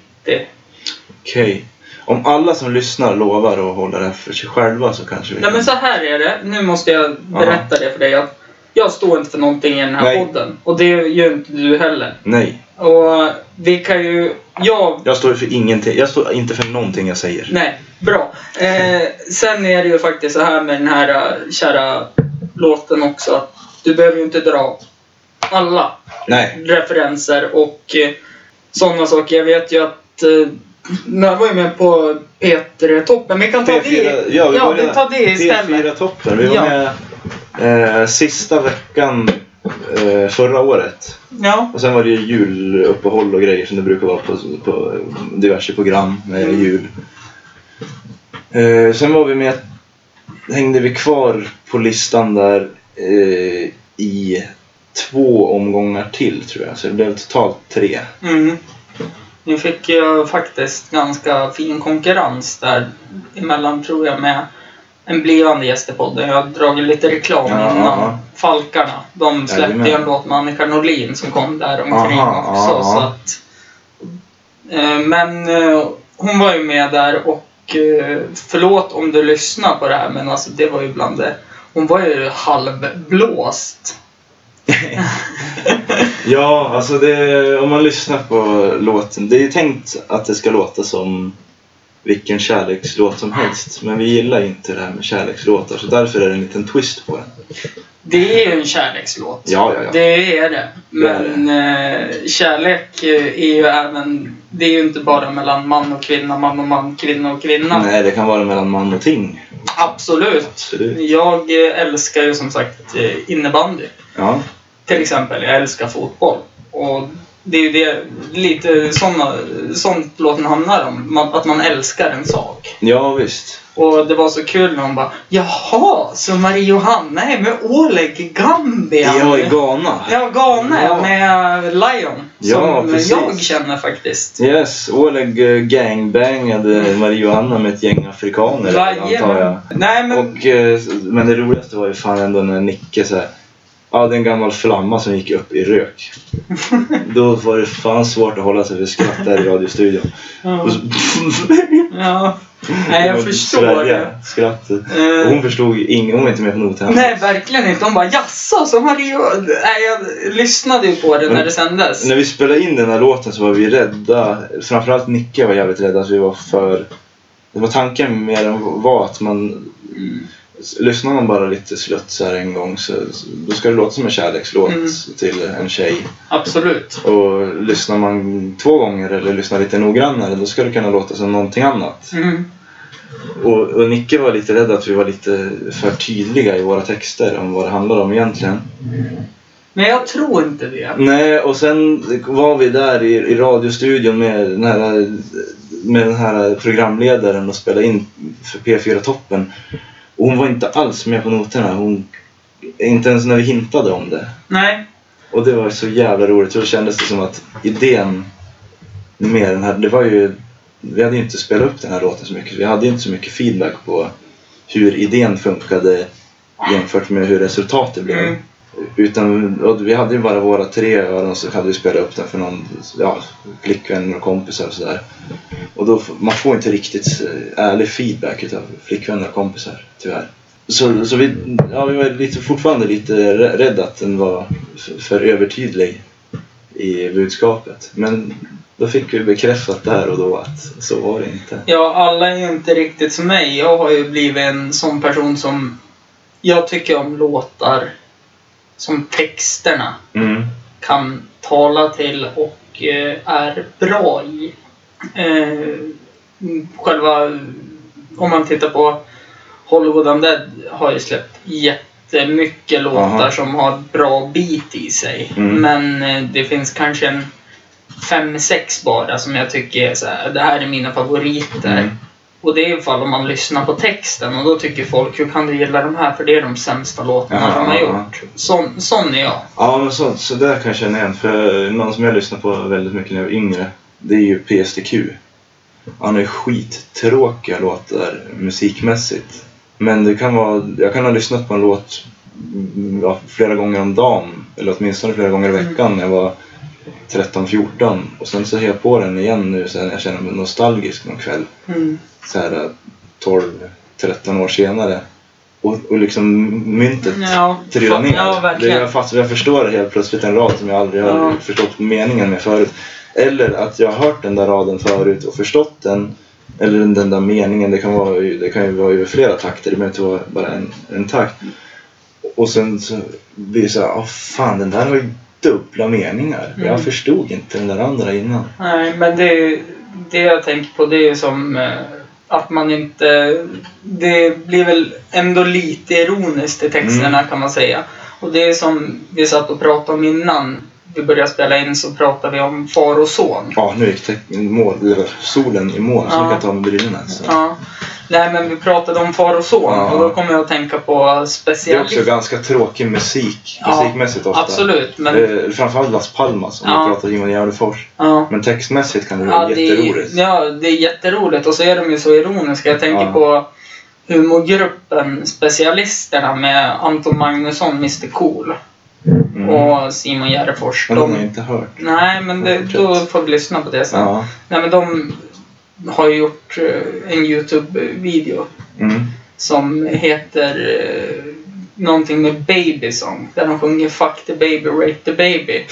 Speaker 3: Okej. Om alla som lyssnar lovar att hålla det här för sig själva så kanske vi
Speaker 1: Nej
Speaker 3: kan...
Speaker 1: men så här är det. Nu måste jag berätta det för dig. Att jag står inte för någonting i den här
Speaker 3: Nej.
Speaker 1: podden. Och det gör inte du heller.
Speaker 3: Nej,
Speaker 1: Och vi kan ju... Jag...
Speaker 3: jag står ju för ingenting. Jag står inte för någonting jag säger.
Speaker 1: Nej, bra. Eh, sen är det ju faktiskt så här med den här eh, kära låten också. Att du behöver ju inte dra alla
Speaker 3: Nej.
Speaker 1: referenser och eh, sådana saker. Jag vet ju att... Eh, när jag var ju med på P3 Toppen. Vi kan ta det.
Speaker 3: P4, ja, vi
Speaker 1: ja, vi
Speaker 3: börjar där.
Speaker 1: tar det istället.
Speaker 3: P4-toppen. Vi var
Speaker 1: Ja.
Speaker 3: med eh, sista veckan eh, förra året.
Speaker 1: Ja.
Speaker 3: Och sen var det ju juluppehåll och grejer som det brukar vara på, på diverse program med jul. Eh, sen var vi med, hängde vi kvar på listan där eh, i två omgångar till tror jag. Så det blev totalt tre.
Speaker 1: Mm. Nu fick jag faktiskt ganska fin konkurrens där emellan tror jag med en blivande gäst i podden. Jag har dragit lite reklam
Speaker 3: Ja,
Speaker 1: innan.
Speaker 3: ja.
Speaker 1: Falkarna. De släppte ju en
Speaker 3: Jajamän.
Speaker 1: låt med Annika Norlin som kom där omkring
Speaker 3: Aha,
Speaker 1: också.
Speaker 3: ja, ja.
Speaker 1: Så att, eh, men eh, hon var ju med där och eh, förlåt om du lyssnar på det här men alltså det var ju bland det. Hon var ju halvblåst.
Speaker 3: Ja, alltså det, om man lyssnar på låten. Det är ju tänkt att det ska låta som vilken kärlekslåt som helst. Men vi gillar inte det här med kärlekslåtar så därför är det en liten twist på den.
Speaker 1: Det är ju en kärlekslåt.
Speaker 3: Ja, ja, ja.
Speaker 1: Det är det.
Speaker 3: Det är
Speaker 1: Men eh, kärlek eh, är ju även det är ju inte bara mellan man och kvinna, man och man, kvinna och kvinna.
Speaker 3: Nej, det kan vara mellan man och ting.
Speaker 1: Absolut.
Speaker 3: Absolut.
Speaker 1: Jag eh, älskar ju som sagt eh, innebandy.
Speaker 3: Ja.
Speaker 1: Till exempel, jag älskar fotboll. Och det är ju det, lite såna, sånt låten handlar om. Man, att man älskar en sak.
Speaker 3: ja, visst.
Speaker 1: Och det var så kul när hon bara Jaha, så Marie Johanna är med Oleg i Gambia?
Speaker 3: Jag är Ghana.
Speaker 1: Ja, Ghana
Speaker 3: Ja.
Speaker 1: med Lion.
Speaker 3: Ja,
Speaker 1: som
Speaker 3: precis.
Speaker 1: jag känner faktiskt.
Speaker 3: Yes, Oleg eh, gangbangade Marie-Johanna med ett gäng afrikaner antar jag.
Speaker 1: Jajamän. Nej men,
Speaker 3: Och, eh, men det roligaste var ju fan ändå när Nicke så här. Ja, det är en gammal flamma som gick upp
Speaker 1: (laughs)
Speaker 3: i rök. Då var det fan svårt att hålla sig för skratt där i radiostudion. Och så,
Speaker 1: ja. Nej jag förstår
Speaker 3: Svälja
Speaker 1: det.
Speaker 3: skrattet.
Speaker 1: Eh.
Speaker 3: Och hon förstod ju inget, hon var inte med på noterna.
Speaker 1: Nej, verkligen inte. Hon bara jaså, så Marie... Nej, jag lyssnade ju på det när
Speaker 3: Mm.
Speaker 1: det sändes.
Speaker 3: När vi spelade in den här låten så var vi rädda. Framförallt Nicke var jävligt rädd att vi var för... Det var tanken med den var att man... Lyssnar man bara lite slött så här en gång så så- då ska det låta som en kärlekslåt
Speaker 1: Mm.
Speaker 3: till en tjej.
Speaker 1: Absolut.
Speaker 3: Och lyssnar man två gånger eller lyssnar lite noggrannare då ska det kunna låta som någonting annat.
Speaker 1: Mm.
Speaker 3: Och, och Nicke var lite rädd att vi var lite för tydliga i våra texter om vad det handlar om egentligen.
Speaker 1: Men jag tror inte det.
Speaker 3: Nej, och sen var vi där i, i radiostudion med den, här, med den här programledaren och spelade in för P4 Toppen. Och hon var inte alls med på noterna. Hon, inte ens när vi hintade om det.
Speaker 1: Nej.
Speaker 3: Och det var så jävla roligt. För då kändes det som att idén med den här, det var ju... Vi hade ju inte spelat upp den här låten så mycket. så Vi hade ju inte så mycket feedback på hur idén funkade jämfört med hur resultatet blev.
Speaker 1: Mm.
Speaker 3: Utan och vi hade ju bara våra tre öron så hade vi spelat upp den för någon ja, flickvänner och kompisar och sådär. Och då, f- man får inte riktigt eh, ärlig feedback utav flickvänner och kompisar, tyvärr. Så, så vi, ja, vi var lite, fortfarande lite rä- rädda att den var f- för övertydlig i budskapet. Men då fick vi bekräftat där och då att så var det inte.
Speaker 1: Ja, alla är ju inte riktigt som mig. Jag har ju blivit en sån person som... Jag tycker om låtar som texterna
Speaker 3: Mm.
Speaker 1: kan tala till och eh, är bra i. Eh, själva, om man tittar på Hollywood Undead har ju släppt jättemycket låtar
Speaker 3: Aha.
Speaker 1: som har bra beat i sig.
Speaker 3: Mm.
Speaker 1: Men eh, det finns kanske en fem, sex bara som jag tycker är så här, det här är mina favoriter.
Speaker 3: Mm.
Speaker 1: Och det är ifall om man lyssnar på texten och då tycker folk, hur kan du gilla de här? För det är de sämsta låtarna
Speaker 3: Aha,
Speaker 1: de har
Speaker 3: aha.
Speaker 1: gjort. Sån, sån är jag.
Speaker 3: Ja, men så, så där kan jag känna igen. För någon som jag lyssnar på väldigt mycket när jag var yngre, det är ju PSTQ. Han har ju skittråkiga låtar musikmässigt. Men det kan vara, jag kan ha lyssnat på en låt mm, ja, flera gånger om dagen, eller åtminstone flera gånger i veckan när jag var 13-14. Och sen så har jag på den igen nu sen jag känner mig nostalgisk någon kväll
Speaker 1: Mm.
Speaker 3: så här 12-13 år senare. Och, och liksom myntet
Speaker 1: Ja,
Speaker 3: trillar
Speaker 1: fa-
Speaker 3: ner.
Speaker 1: ja,
Speaker 3: det
Speaker 1: verkligen.
Speaker 3: jag, fast, jag förstår helt plötsligt en rad som jag aldrig har
Speaker 1: Ja.
Speaker 3: förstått meningen med förut. Eller att jag har hört den där raden förut och förstått den. Eller den där meningen, det kan, vara, ju- det kan ju vara över flera takter, det behöver inte vara bara en, en takt. Och sen så blir det så här, "Ah, fan den där har ju dubbla meningar.
Speaker 1: Mm.
Speaker 3: Jag förstod inte den där andra innan.
Speaker 1: Nej, men det, är ju- det jag tänker på det är ju som eh, att man inte... Det blir väl ändå lite ironiskt i texterna
Speaker 3: Mm.
Speaker 1: kan man säga. Och det är som vi satt och pratade om innan vi började spela in så pratade vi om far och son.
Speaker 3: Ja, nu gick te- mål, eller solen i mål så
Speaker 1: Ja.
Speaker 3: vi kan ta med brillorna. Så.
Speaker 1: Ja. Nej, men vi pratade om far och son
Speaker 3: Ja.
Speaker 1: och då kommer jag att tänka på
Speaker 3: Det är också
Speaker 1: specialister.
Speaker 3: ganska tråkig musik,
Speaker 1: Ja,
Speaker 3: musikmässigt ofta.
Speaker 1: Absolut, men...
Speaker 3: Eh, framförallt Las Palmas om
Speaker 1: Ja.
Speaker 3: vi pratar Simon Gärdefors.
Speaker 1: ja.
Speaker 3: Men textmässigt kan det
Speaker 1: Ja,
Speaker 3: vara
Speaker 1: det är,
Speaker 3: jätteroligt.
Speaker 1: ja, det är jätteroligt och så är de ju så ironiska. Jag tänker
Speaker 3: Ja.
Speaker 1: på humorgruppen Specialisterna med Anton Magnusson, Mr Cool
Speaker 3: Mm.
Speaker 1: och Simon Järfors.
Speaker 3: Men de har jag
Speaker 1: De,
Speaker 3: inte hört.
Speaker 1: nej, men det, då får vi lyssna på det sen.
Speaker 3: Ja.
Speaker 1: Nej, men de har ju gjort eh, en Youtube-video
Speaker 3: Mm.
Speaker 1: som heter eh, någonting med Baby Song. Där de sjunger Fuck the baby, (laughs)
Speaker 3: Mm.
Speaker 1: rape the baby.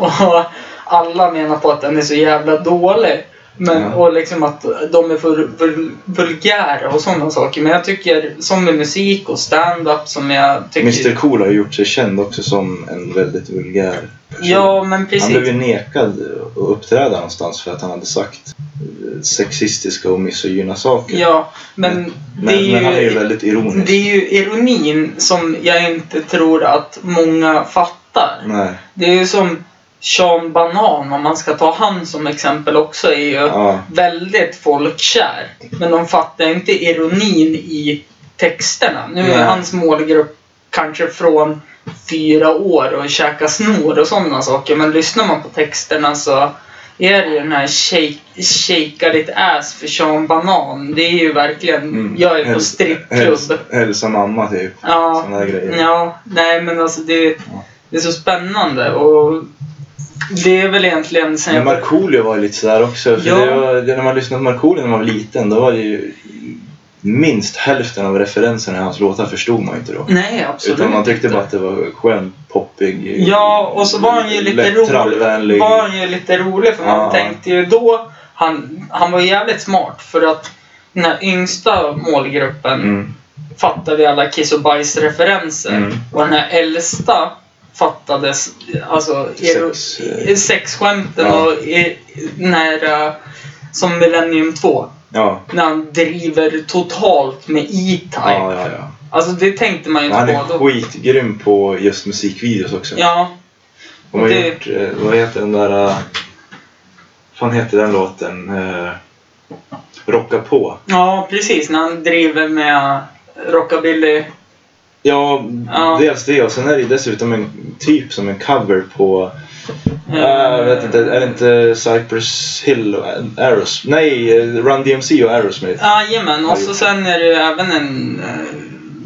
Speaker 1: och alla menar på att den är så jävla dålig. Men,
Speaker 3: Ja.
Speaker 1: Och liksom att de är vul, vul, vulgära och sådana saker. Men jag tycker, som med musik och stand-up som jag tycker...
Speaker 3: Mr Cool har gjort sig känd också som en väldigt vulgär person.
Speaker 1: Ja, men
Speaker 3: han
Speaker 1: precis.
Speaker 3: blev ju nekad att uppträda någonstans för att han hade sagt eh, sexistiska och misogyna saker.
Speaker 1: Ja, men det
Speaker 3: men, men han är ju väldigt ironisk.
Speaker 1: Det är ju ironin som jag inte tror att många fattar.
Speaker 3: Nej.
Speaker 1: Det är ju som Sean Banan, om man ska ta han som exempel också, är ju
Speaker 3: Ja.
Speaker 1: väldigt folkkär. Men de fattar inte ironin i texterna. Nu är
Speaker 3: Nej.
Speaker 1: hans målgrupp kanske från fyra år och käka snor och sådana saker. Men lyssnar man på texterna så är det ju den här shake, shakea ditt ass för Sean Banan. Det är ju verkligen,
Speaker 3: Mm.
Speaker 1: jag är på
Speaker 3: Häls-
Speaker 1: strippklubb.
Speaker 3: häls- Hälsa mamma typ.
Speaker 1: Ja.
Speaker 3: Såna där grejer.
Speaker 1: Ja, nej men alltså det, det är så spännande och det är väl egentligen sen
Speaker 3: Men
Speaker 1: jag...
Speaker 3: Markoolio var ju lite sådär också. För
Speaker 1: Ja.
Speaker 3: det var, det, när man lyssnade på Markoolio när man var liten då var det ju minst hälften av referenserna i hans låtar förstod man ju inte då.
Speaker 1: Nej, Mm, absolut
Speaker 3: Utan man tyckte
Speaker 1: inte.
Speaker 3: bara att det var skön, poppig,
Speaker 1: Ja, och så var han ju lite
Speaker 3: lätt
Speaker 1: rolig.
Speaker 3: trallvänlig.
Speaker 1: Var han ju lite rolig för man
Speaker 3: Ja.
Speaker 1: tänkte ju då... Han, han var jävligt smart för att den här yngsta målgruppen
Speaker 3: Mm.
Speaker 1: fattade ju alla kiss och bajsreferenser.
Speaker 3: Mm.
Speaker 1: Och den här äldsta fattades alltså ero-
Speaker 3: Sex,
Speaker 1: eh, sexskämten
Speaker 3: Ja.
Speaker 1: och i, den här eh, som Millennium 2.
Speaker 3: Ja.
Speaker 1: När han driver totalt med E-Type.
Speaker 3: Ja, ja, ja.
Speaker 1: Alltså det tänkte man ju
Speaker 3: Men Han
Speaker 1: inte
Speaker 3: är
Speaker 1: på då.
Speaker 3: skitgrym på just musikvideos också.
Speaker 1: Ja,
Speaker 3: De har
Speaker 1: det-
Speaker 3: gjort, eh, vad heter den där... eh, fan heter den låten? Eh, Rocka på.
Speaker 1: ja, precis. När han driver med rockabilly.
Speaker 3: Ja,
Speaker 1: Ja.
Speaker 3: dels det och sen är det ju dessutom en typ som en cover på... eh, Jag vet inte, är det inte Cypress Hill och Aerosmith? Nej, eh, Run DMC och Aerosmith.
Speaker 1: Jajamän, och så sen är det ju även en eh,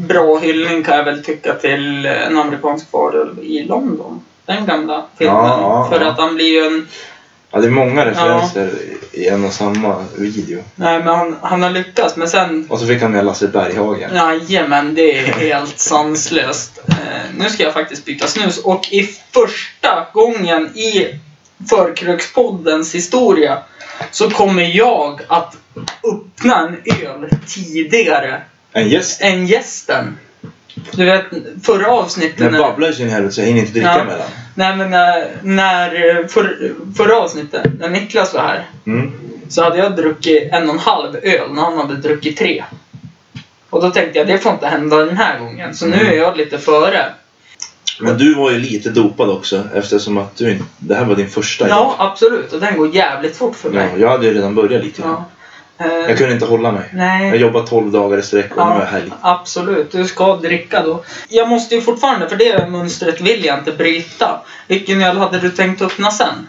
Speaker 1: bra hyllning kan jag väl tycka till eh, en amerikansk varulv i London. Den gamla filmen.
Speaker 3: Ja, ja,
Speaker 1: För
Speaker 3: ja.
Speaker 1: att han blir ju en...
Speaker 3: Ja, det är många referenser i en och samma video.
Speaker 1: Nej, men han, han har lyckats. Men sen
Speaker 3: Och så fick han med Lasse Berghagen.
Speaker 1: Jajamän, det är helt
Speaker 3: (laughs)
Speaker 1: sanslöst. Eh, nu ska jag faktiskt byta snus och i första gången i Förkrökspoddens historia så kommer jag att öppna en öl tidigare
Speaker 3: En gäst.
Speaker 1: än gästen. Du vet, förra avsnittet...
Speaker 3: Den babblar sin helvete så jag hinner inte dricka
Speaker 1: Ja.
Speaker 3: mellan.
Speaker 1: nej, men när, när eh, för, förra avsnittet, när Niklas var här,
Speaker 3: Mm.
Speaker 1: så hade jag druckit en och en halv öl när han hade druckit tre. Och då tänkte jag, det får inte hända den här gången. Så nu är jag lite före.
Speaker 3: Men du var ju lite dopad också eftersom att du inte... Det här var din första
Speaker 1: Ja, absolut. Och den går jävligt fort för
Speaker 3: Ja,
Speaker 1: mig.
Speaker 3: jag hade ju redan börjat lite.
Speaker 1: Ja. Eh,
Speaker 3: Jag kunde inte hålla mig. Jag
Speaker 1: Nej.
Speaker 3: jobbade 12 dagar i sträck och nu är jag helg.
Speaker 1: absolut. Du ska dricka då. Jag måste ju fortfarande, för det mönstret vill jag inte bryta. Vilken öl hade du tänkt öppna sen?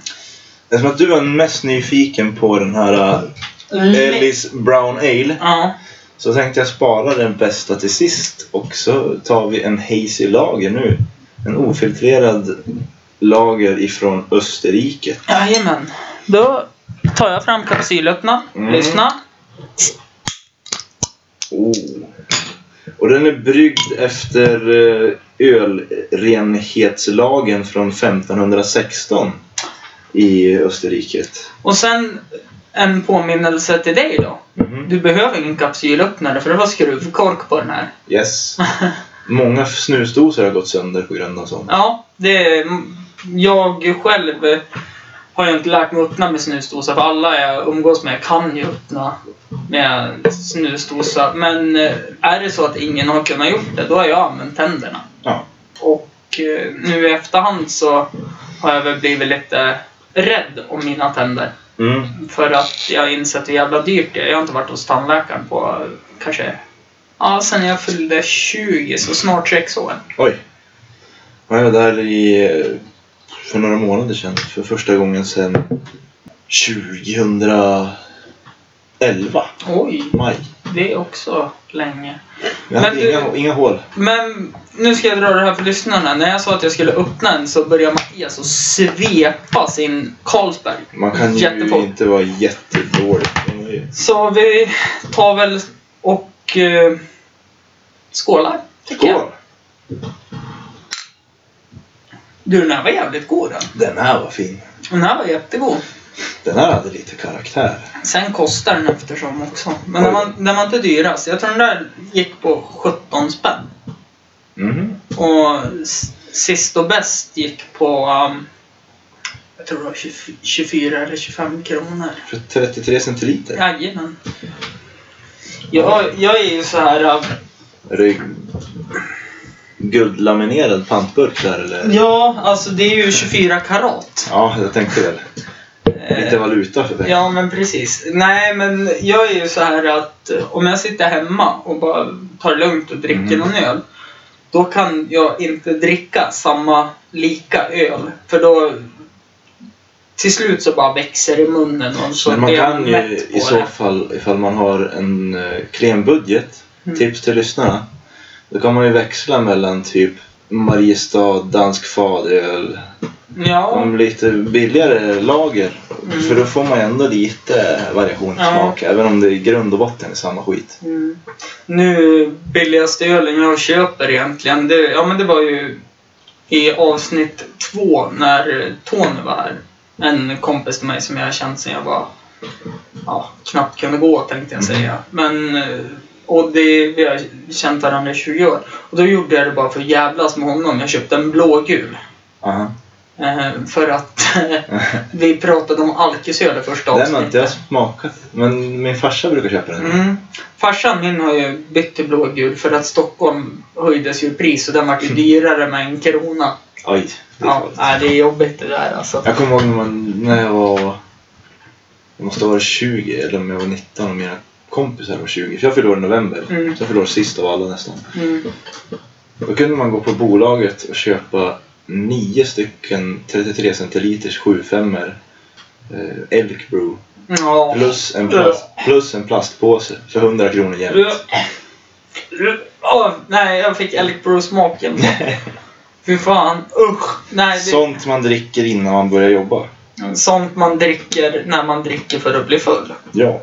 Speaker 3: Det är som att du var mest nyfiken på den här uh, Ellis Brown Ale.
Speaker 1: Ja.
Speaker 3: Så tänkte jag spara den bästa till sist och så tar vi en Hazy Lager nu. En ofiltrerad lager ifrån Österrike.
Speaker 1: Jajamän. Då tar jag fram kapsylöppna.
Speaker 3: Mm.
Speaker 1: Lyssna.
Speaker 3: Oh. Och den är bryggd efter eh, ölrenhetslagen från 1516 i Österrike.
Speaker 1: Och sen en påminnelse till dig då.
Speaker 3: Mhm.
Speaker 1: Du behöver ingen kapsylöppnare för det var skruvkork på den här.
Speaker 3: Yes. Många snusdosor har gått sönder på grund av sånt.
Speaker 1: Ja, det är, jag själv eh, har ju inte lärt mig att öppna med snusdosa för alla jag umgås med kan ju öppna med snusdosa. Men eh, är det så att ingen har kunnat gjort det, då har jag använt tänderna.
Speaker 3: Ja.
Speaker 1: Och eh, nu i efterhand så har jag väl blivit lite rädd om mina tänder.
Speaker 3: Mm.
Speaker 1: För att jag har insett hur jävla dyrt det är. Jag har inte varit hos tandläkaren på eh, kanske... Ja, sen jag fyllde 20, så snart sex år.
Speaker 3: Oj. Jag var där i, eh, för några månader sedan för första gången sedan 2011.
Speaker 1: Oj,
Speaker 3: Maj.
Speaker 1: det är också länge.
Speaker 3: Jag hade
Speaker 1: Men du-
Speaker 3: inga, inga hål.
Speaker 1: Men nu ska jag dra det här för lyssnarna. När jag sa att jag skulle öppna en så började Mattias att svepa sin Carlsberg.
Speaker 3: Man kan ju
Speaker 1: Jättefort.
Speaker 3: inte vara jättedålig. Man är ju-
Speaker 1: Så vi tar väl och eh, skålar. tycker jag.
Speaker 3: Skål!
Speaker 1: Du, den här var jävligt god den.
Speaker 3: Den här var fin.
Speaker 1: Den här var jättegod.
Speaker 3: Den här hade lite karaktär.
Speaker 1: Sen kostar den eftersom också. Men den var, den var inte dyrast. Jag tror den där gick på 17 spänn.
Speaker 3: Mhm.
Speaker 1: Mm. Och s- sist och bäst gick på... um, jag tror det var 24 24 eller 25 kronor.
Speaker 3: För 33 centiliter.
Speaker 1: Jajamän. Jag, jag är ju så här... um,
Speaker 3: Är det guldlaminerad pantburk där eller?
Speaker 1: Ja, alltså det är ju 24 karat.
Speaker 3: Ja, jag tänkte väl. Lite valuta för pengarna.
Speaker 1: Ja, men precis. Nej, men jag är ju så här att eh, om jag sitter hemma och bara tar det lugnt och dricker
Speaker 3: Mm.
Speaker 1: någon öl. Då kan jag inte dricka samma lika öl. För då till slut så bara växer det i munnen och så
Speaker 3: Men man
Speaker 1: blir jag
Speaker 3: kan ju
Speaker 1: mätt på
Speaker 3: i så
Speaker 1: det.
Speaker 3: fall, ifall man har en eh, klen budget,
Speaker 1: Mm.
Speaker 3: tips till lyssnarna. Då kan man ju växla mellan typ Mariestad, dansk fadöl,
Speaker 1: Ja,
Speaker 3: de lite billigare lager.
Speaker 1: Mm.
Speaker 3: För då får man ju ändå lite variation i
Speaker 1: Ja.
Speaker 3: smak, även om det i grund och botten är samma skit.
Speaker 1: Mm. Nu billigaste ölen jag köper egentligen, det, ja men det var ju i avsnitt två när eh, Tony var här. En kompis till mig som jag har känt sedan jag var, ja, knappt kunde gå tänkte jag säga. Men, eh, och det, vi har känt varandra i 20 år. Och då gjorde jag det bara för att jävlas med honom. Jag köpte en blågul.
Speaker 3: Aha.
Speaker 1: Eh, för att (laughs) vi pratade om alkisöl i första
Speaker 3: Den har
Speaker 1: avsnittet.
Speaker 3: inte jag smakat, men min farsa brukar köpa den.
Speaker 1: Mm. Farsan min har ju bytt till blågul för att Stockholm höjdes ju i pris och den vart ju dyrare med en krona.
Speaker 3: Oj, Mm. det är
Speaker 1: Ja,
Speaker 3: farligt.
Speaker 1: nej, det är jobbigt det där alltså.
Speaker 3: Jag kommer ihåg när, man, när jag var... Jag måste ha varit 20 eller om jag var 19 och mina kompisar var 20. För jag fyllde år i november.
Speaker 1: Mm.
Speaker 3: Så jag fyllde år sist av alla nästan.
Speaker 1: Mm.
Speaker 3: Då kunde man gå på bolaget och köpa nio stycken 33 centiliters 75 er eh, Elk Brew.
Speaker 1: Ja.
Speaker 3: Plus en, plast, plus en plastpåse för 100 kronor jämt.
Speaker 1: Ru- ru- Åh, nej, jag fick Alec
Speaker 3: (laughs)
Speaker 1: Bro-smaken. Fy fan, usch. Nej, det
Speaker 3: Sånt man dricker innan man börjar jobba.
Speaker 1: är sånt man dricker när man dricker för att bli full.
Speaker 3: Ja.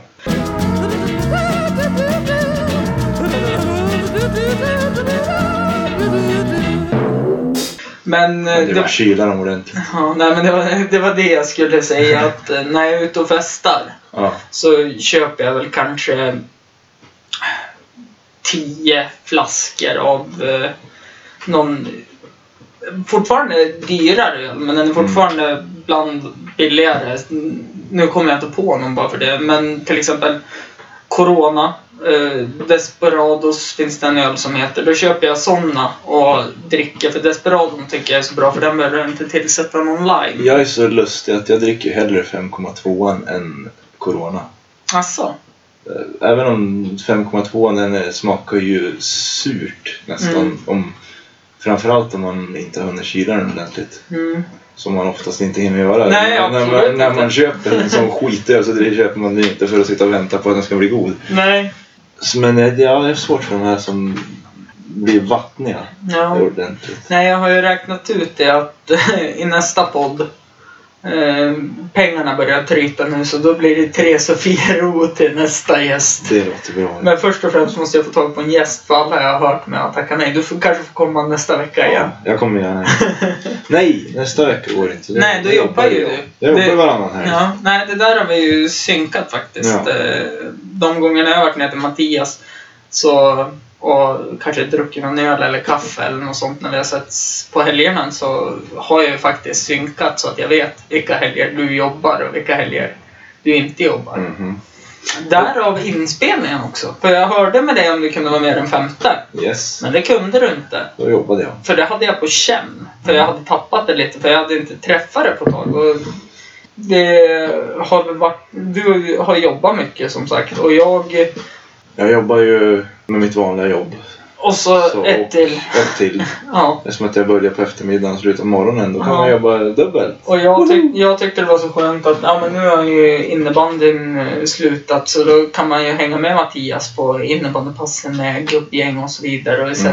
Speaker 1: Men, eh,
Speaker 3: Det
Speaker 1: det-
Speaker 3: var kyla
Speaker 1: (laughs)
Speaker 3: dem ordentligt.
Speaker 1: ja, nej, men det, var, det var det jag skulle säga att eh, när jag är ute och festar
Speaker 3: Ja.
Speaker 1: så köper jag väl kanske 10 flaskor av eh, någon fortfarande dyrare öl, men den är fortfarande bland billigare. Nu kommer jag inte på någon bara för det, men till exempel Corona, eh, Desperados finns det en öl som heter. Då köper jag såna och dricker för Desperadon tycker jag är så bra för den behöver jag inte tillsätta någon lime.
Speaker 3: Jag är så lustig att jag dricker hellre 5,2 än Corona.
Speaker 1: Alltså,
Speaker 3: Även om 5,2 den är- smakar ju surt nästan.
Speaker 1: Mm.
Speaker 3: Om, framförallt om man inte har hunnit kyla den ordentligt.
Speaker 1: mm.
Speaker 3: Som man oftast inte hinner göra.
Speaker 1: Nej,
Speaker 3: när,
Speaker 1: absolut
Speaker 3: man, när man
Speaker 1: inte.
Speaker 3: köper en sån skitöl så det köper man den inte för att sitta och vänta på att den ska bli god.
Speaker 1: nej.
Speaker 3: Så, Men eh, det ja, det är svårt för de här som blir vattniga
Speaker 1: Ja.
Speaker 3: ordentligt.
Speaker 1: Nej, jag har ju räknat ut det att (laughs) i nästa podd eh, pengarna börjar tryta nu så då blir det tre (laughs) Sofiero till nästa gäst.
Speaker 3: Det låter bra.
Speaker 1: Men först och främst måste jag få tag på en gäst för alla jag har hört med att tacka nej. Du får, kanske får komma nästa vecka igen.
Speaker 3: Ja, jag kommer gärna.
Speaker 1: (laughs)
Speaker 3: Nej, nästa vecka går det inte.
Speaker 1: Nej, då
Speaker 3: Jag
Speaker 1: jobbar ju
Speaker 3: jag.
Speaker 1: du.
Speaker 3: Jag jobbar
Speaker 1: Det-
Speaker 3: varannan helg.
Speaker 1: Ja, nej, det där har vi ju synkat faktiskt.
Speaker 3: Ja.
Speaker 1: Eh, De gångerna jag har varit nere till Mattias så, och kanske druckit någon öl eller kaffe eller något sånt när vi har setts på helgerna så har jag ju faktiskt synkat så att jag vet vilka helger du jobbar och vilka helger du inte jobbar.
Speaker 3: Mhm.
Speaker 1: Därav inspelningen också. För jag hörde med dig om du kunde vara med den femte.
Speaker 3: Yes,
Speaker 1: Men det kunde du inte.
Speaker 3: då jobbade jag.
Speaker 1: För det hade jag på känn. För jag hade tappat det lite. För jag hade inte träffat det på ett tag. Och det har väl varit, du har jobbat mycket som sagt. Och jag...
Speaker 3: Jag jobbar ju med mitt vanliga jobb.
Speaker 1: Och så,
Speaker 3: Så-
Speaker 1: ett till.
Speaker 3: Ett till.
Speaker 1: Ja.
Speaker 3: Eftersom att jag börjar på eftermiddagen och slutar på morgonen. Då kan
Speaker 1: Ja.
Speaker 3: man jobba dubbelt.
Speaker 1: Och jag, tyck, jag tyckte det var så skönt att ja, men nu har ju innebandyn eh, slutat. Så då kan man ju hänga med Mattias på innebandypassen med gubbgäng och så vidare. Och etc.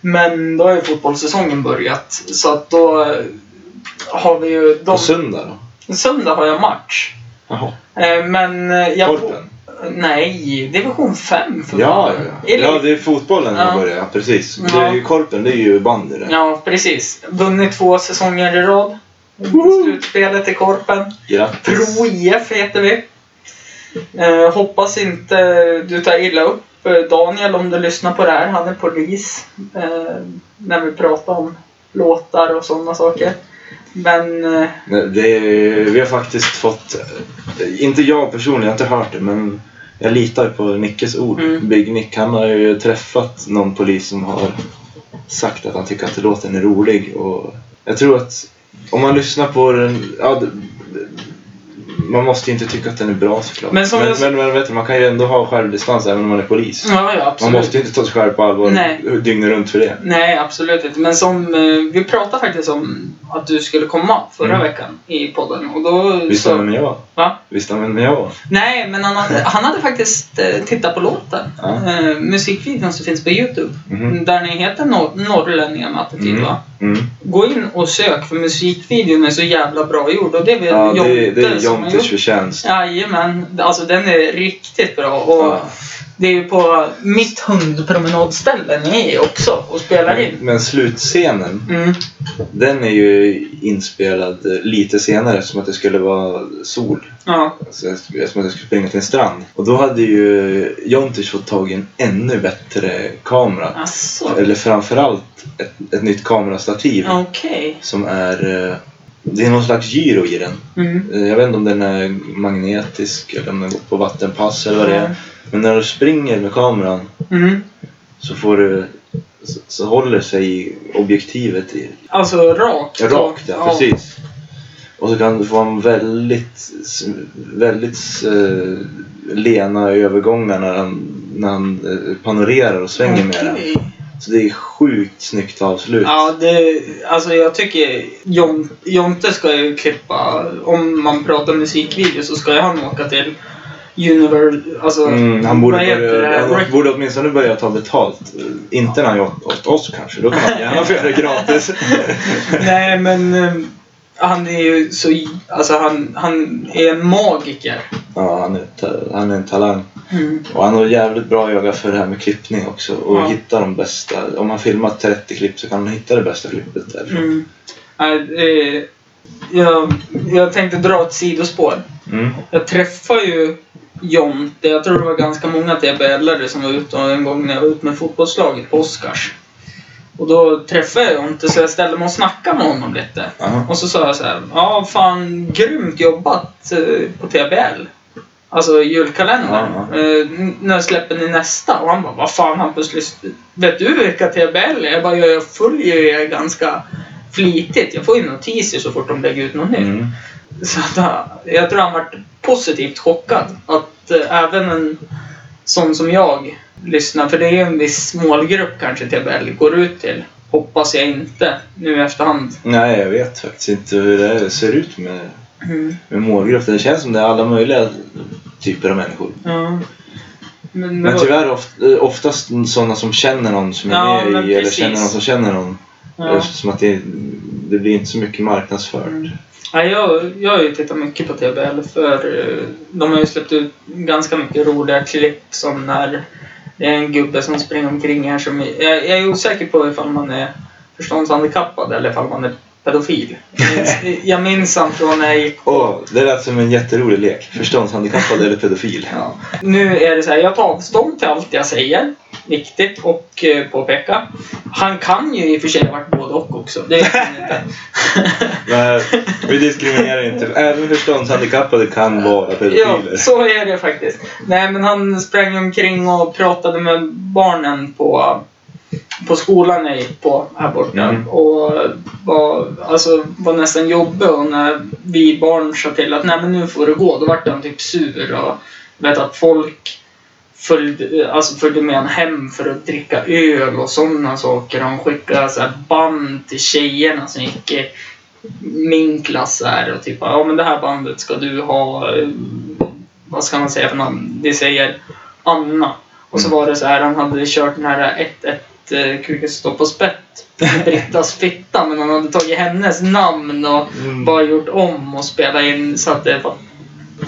Speaker 1: Men då har ju fotbollssäsongen börjat. Så att då eh, har vi ju...
Speaker 3: På
Speaker 1: De,
Speaker 3: söndag då?
Speaker 1: söndag har jag match.
Speaker 3: Jaha.
Speaker 1: Eh, Men eh, jag...
Speaker 3: Korpen?
Speaker 1: Nej, division 5 för
Speaker 3: Ja,
Speaker 1: fan.
Speaker 3: ja, ja. ja, det är fotbollen
Speaker 1: Ja.
Speaker 3: jag börjar. Precis. Det
Speaker 1: Ja.
Speaker 3: är ju korpen, det är ju bandy det.
Speaker 1: Ja, precis. Vunnit två säsonger i rad. Slutspelet i Korpen.
Speaker 3: Grattis!
Speaker 1: Pro IF heter vi. Eh, hoppas inte du tar illa upp eh, Daniel om du lyssnar på det här. Han är polis. Eh, när vi pratar om låtar och sådana saker. Men eh,
Speaker 3: Nej, Det, är- vi har faktiskt fått, inte jag personligen, jag har inte hört det men jag litar på Nickes ord.
Speaker 1: Mm.
Speaker 3: Big Nick, han har ju träffat någon polis som har sagt att han tycker att låten är rolig och jag tror att om man lyssnar på den, ja, det- man måste ju inte tycka att den är bra såklart.
Speaker 1: Men som
Speaker 3: men,
Speaker 1: jag-
Speaker 3: men, men vet du, man kan ju ändå ha självdistans även om man är polis.
Speaker 1: ja, ja absolut.
Speaker 3: Man måste ju inte ta sig själv på allvar
Speaker 1: Nej.
Speaker 3: dygnet runt för det.
Speaker 1: Nej, absolut inte. Men som eh, vi pratade faktiskt om att du skulle komma förra veckan i podden. Och då,
Speaker 3: Mm. Visst
Speaker 1: så,
Speaker 3: använder jag var?
Speaker 1: va?
Speaker 3: Visst använder jag var?
Speaker 1: Nej, men han hade, han hade faktiskt eh, tittat på låten.
Speaker 3: Ja.
Speaker 1: Eh, musikvideon som finns på Youtube.
Speaker 3: Mhm.
Speaker 1: Där ni heter Nor- Norrlänningar med attityd
Speaker 3: Mm.
Speaker 1: va?
Speaker 3: Mm.
Speaker 1: Gå in och sök för musikvideon är så jävla bra gjord. Och det är väl
Speaker 3: Ja, det, det är
Speaker 1: Jonte som har gjort
Speaker 3: Jontes förtjänst.
Speaker 1: Jajamän, alltså den är riktigt bra. Och
Speaker 3: Ja.
Speaker 1: Det är ju på mitt hundpromenadställe ni är också och spelar in.
Speaker 3: Men slutscenen,
Speaker 1: Mm.
Speaker 3: den är ju inspelad eh, lite senare som att det skulle vara sol.
Speaker 1: Ja.
Speaker 3: Alltså, som att jag skulle springa till en strand. Och då hade ju Jontis fått tag i en ännu bättre kamera.
Speaker 1: Alltså.
Speaker 3: Eller framförallt ett, ett nytt kamerastativ.
Speaker 1: Okej.
Speaker 3: Som är... eh, Det är någon slags gyro i den.
Speaker 1: Mm.
Speaker 3: Eh, Jag vet inte om den är magnetisk eller om den går på vattenpass eller vad det är. Men när du springer med kameran
Speaker 1: Mm.
Speaker 3: så får du... Så, så håller sig objektivet i,
Speaker 1: Alltså rakt. då.
Speaker 3: Rakt ja, precis. Och så kan du få en väldigt, väldigt eh, lena övergångar när han, när han eh, panorerar och svänger med den.
Speaker 1: Okej.
Speaker 3: Så det är sjukt snyggt avslut.
Speaker 1: Ja, det, alltså jag tycker Jon, Jonte ska ju klippa, om man pratar musikvideo så ska ju han åka till Univer... Alltså,
Speaker 3: Mm, han borde,
Speaker 1: vad heter
Speaker 3: börja,
Speaker 1: det?
Speaker 3: han borde åtminstone börja ta betalt. Eh, Inte när han gör åt, åt oss kanske, då kan han gärna få göra det
Speaker 1: (laughs)
Speaker 3: gratis.
Speaker 1: Nej, men eh, han är ju så... Alltså han, han är en magiker.
Speaker 3: ja, han är, ta- han är en talang.
Speaker 1: Mm.
Speaker 3: Och han har jävligt bra öga för det här med klippning också. Och
Speaker 1: Ja.
Speaker 3: hitta de bästa. Om han filmar 30 klipp så kan han hitta det bästa klippet därifrån.
Speaker 1: Mm. Nej, eh, jag, jag tänkte dra ett sidospår.
Speaker 3: Mm.
Speaker 1: Jag träffade ju Jonte, jag tror det var ganska många TBL-are som var ute en gång när jag var ute med fotbollslaget på Oscars. Och då träffade jag Jonte så jag ställde mig och snackade med honom lite.
Speaker 3: Aha.
Speaker 1: Och så sa jag så här, ja fan grymt jobbat eh, på TBL. Alltså julkalendern.
Speaker 3: Ja,
Speaker 1: Eh, n- när släpper ni nästa? Och han bara, vad fan Hampus, lys- vet du vilka TBL är? Jag bara, "Ja, jag följer ju er ganska flitigt. Jag får ju notiser så fort de lägger ut något nytt.
Speaker 3: Mm.
Speaker 1: Så att, han- jag tror han var positivt chockad. Att eh, även en sån som jag lyssnar, för det är ju en viss målgrupp kanske TBL går ut till. Hoppas jag inte nu i efterhand.
Speaker 3: Nej, jag vet faktiskt inte hur det ser ut med,
Speaker 1: Mm.
Speaker 3: med målgruppen. Det känns som det är alla möjliga typer av människor.
Speaker 1: Ja. Men,
Speaker 3: Men tyvärr oft, eh, oftast sådana som känner någon som är
Speaker 1: Ja,
Speaker 3: med i
Speaker 1: men
Speaker 3: eller
Speaker 1: precis.
Speaker 3: känner någon som känner någon.
Speaker 1: Ja.
Speaker 3: Eftersom att det, det blir inte så mycket marknadsfört.
Speaker 1: Mm. Ja, jag, jag har ju tittat mycket på TBL för eh, de har ju släppt ut ganska mycket roliga klipp som när det är en gubbe som springer omkring här som... Jag, jag är osäker på ifall man är förståndshandikappad eller ifall man är
Speaker 3: (laughs)
Speaker 1: pedofil. Jag minns- Jag minns han från när jag gick
Speaker 3: Åh, det lät som en jätterolig lek. Förståndshandikappad eller pedofil.
Speaker 1: Ja. Nu är det så här, jag tar avstånd till allt jag säger. Viktigt och eh, påpeka. Han kan ju i och för sig ha varit både och också. Det vet man inte.
Speaker 3: Nej, vi diskriminerar inte. Även förståndshandikappade kan vara
Speaker 1: Ja,
Speaker 3: pedofiler.
Speaker 1: så är det faktiskt. Nej, men han sprang omkring och pratade med barnen på, på skolan jag gick på här borta.
Speaker 3: Mm.
Speaker 1: Och var, alltså, var nästan jobbig och när vi barn sa till att nej men nu får du gå, då vart han typ sur och vet att folk följde, alltså följde med honom hem för att dricka öl och sådana saker. Han skickade så här band till tjejerna som gick i min klass är och typ ja men det här bandet ska du ha, eh, vad ska man säga för namn? Vi säger Anna. Och
Speaker 3: Mm.
Speaker 1: så var det så här, han hade kört den här 1-1 eh, kuken står på spett.
Speaker 3: (laughs)
Speaker 1: Brittas fitta, men han hade tagit hennes namn och
Speaker 3: Mm.
Speaker 1: bara gjort om och spelat in så att det var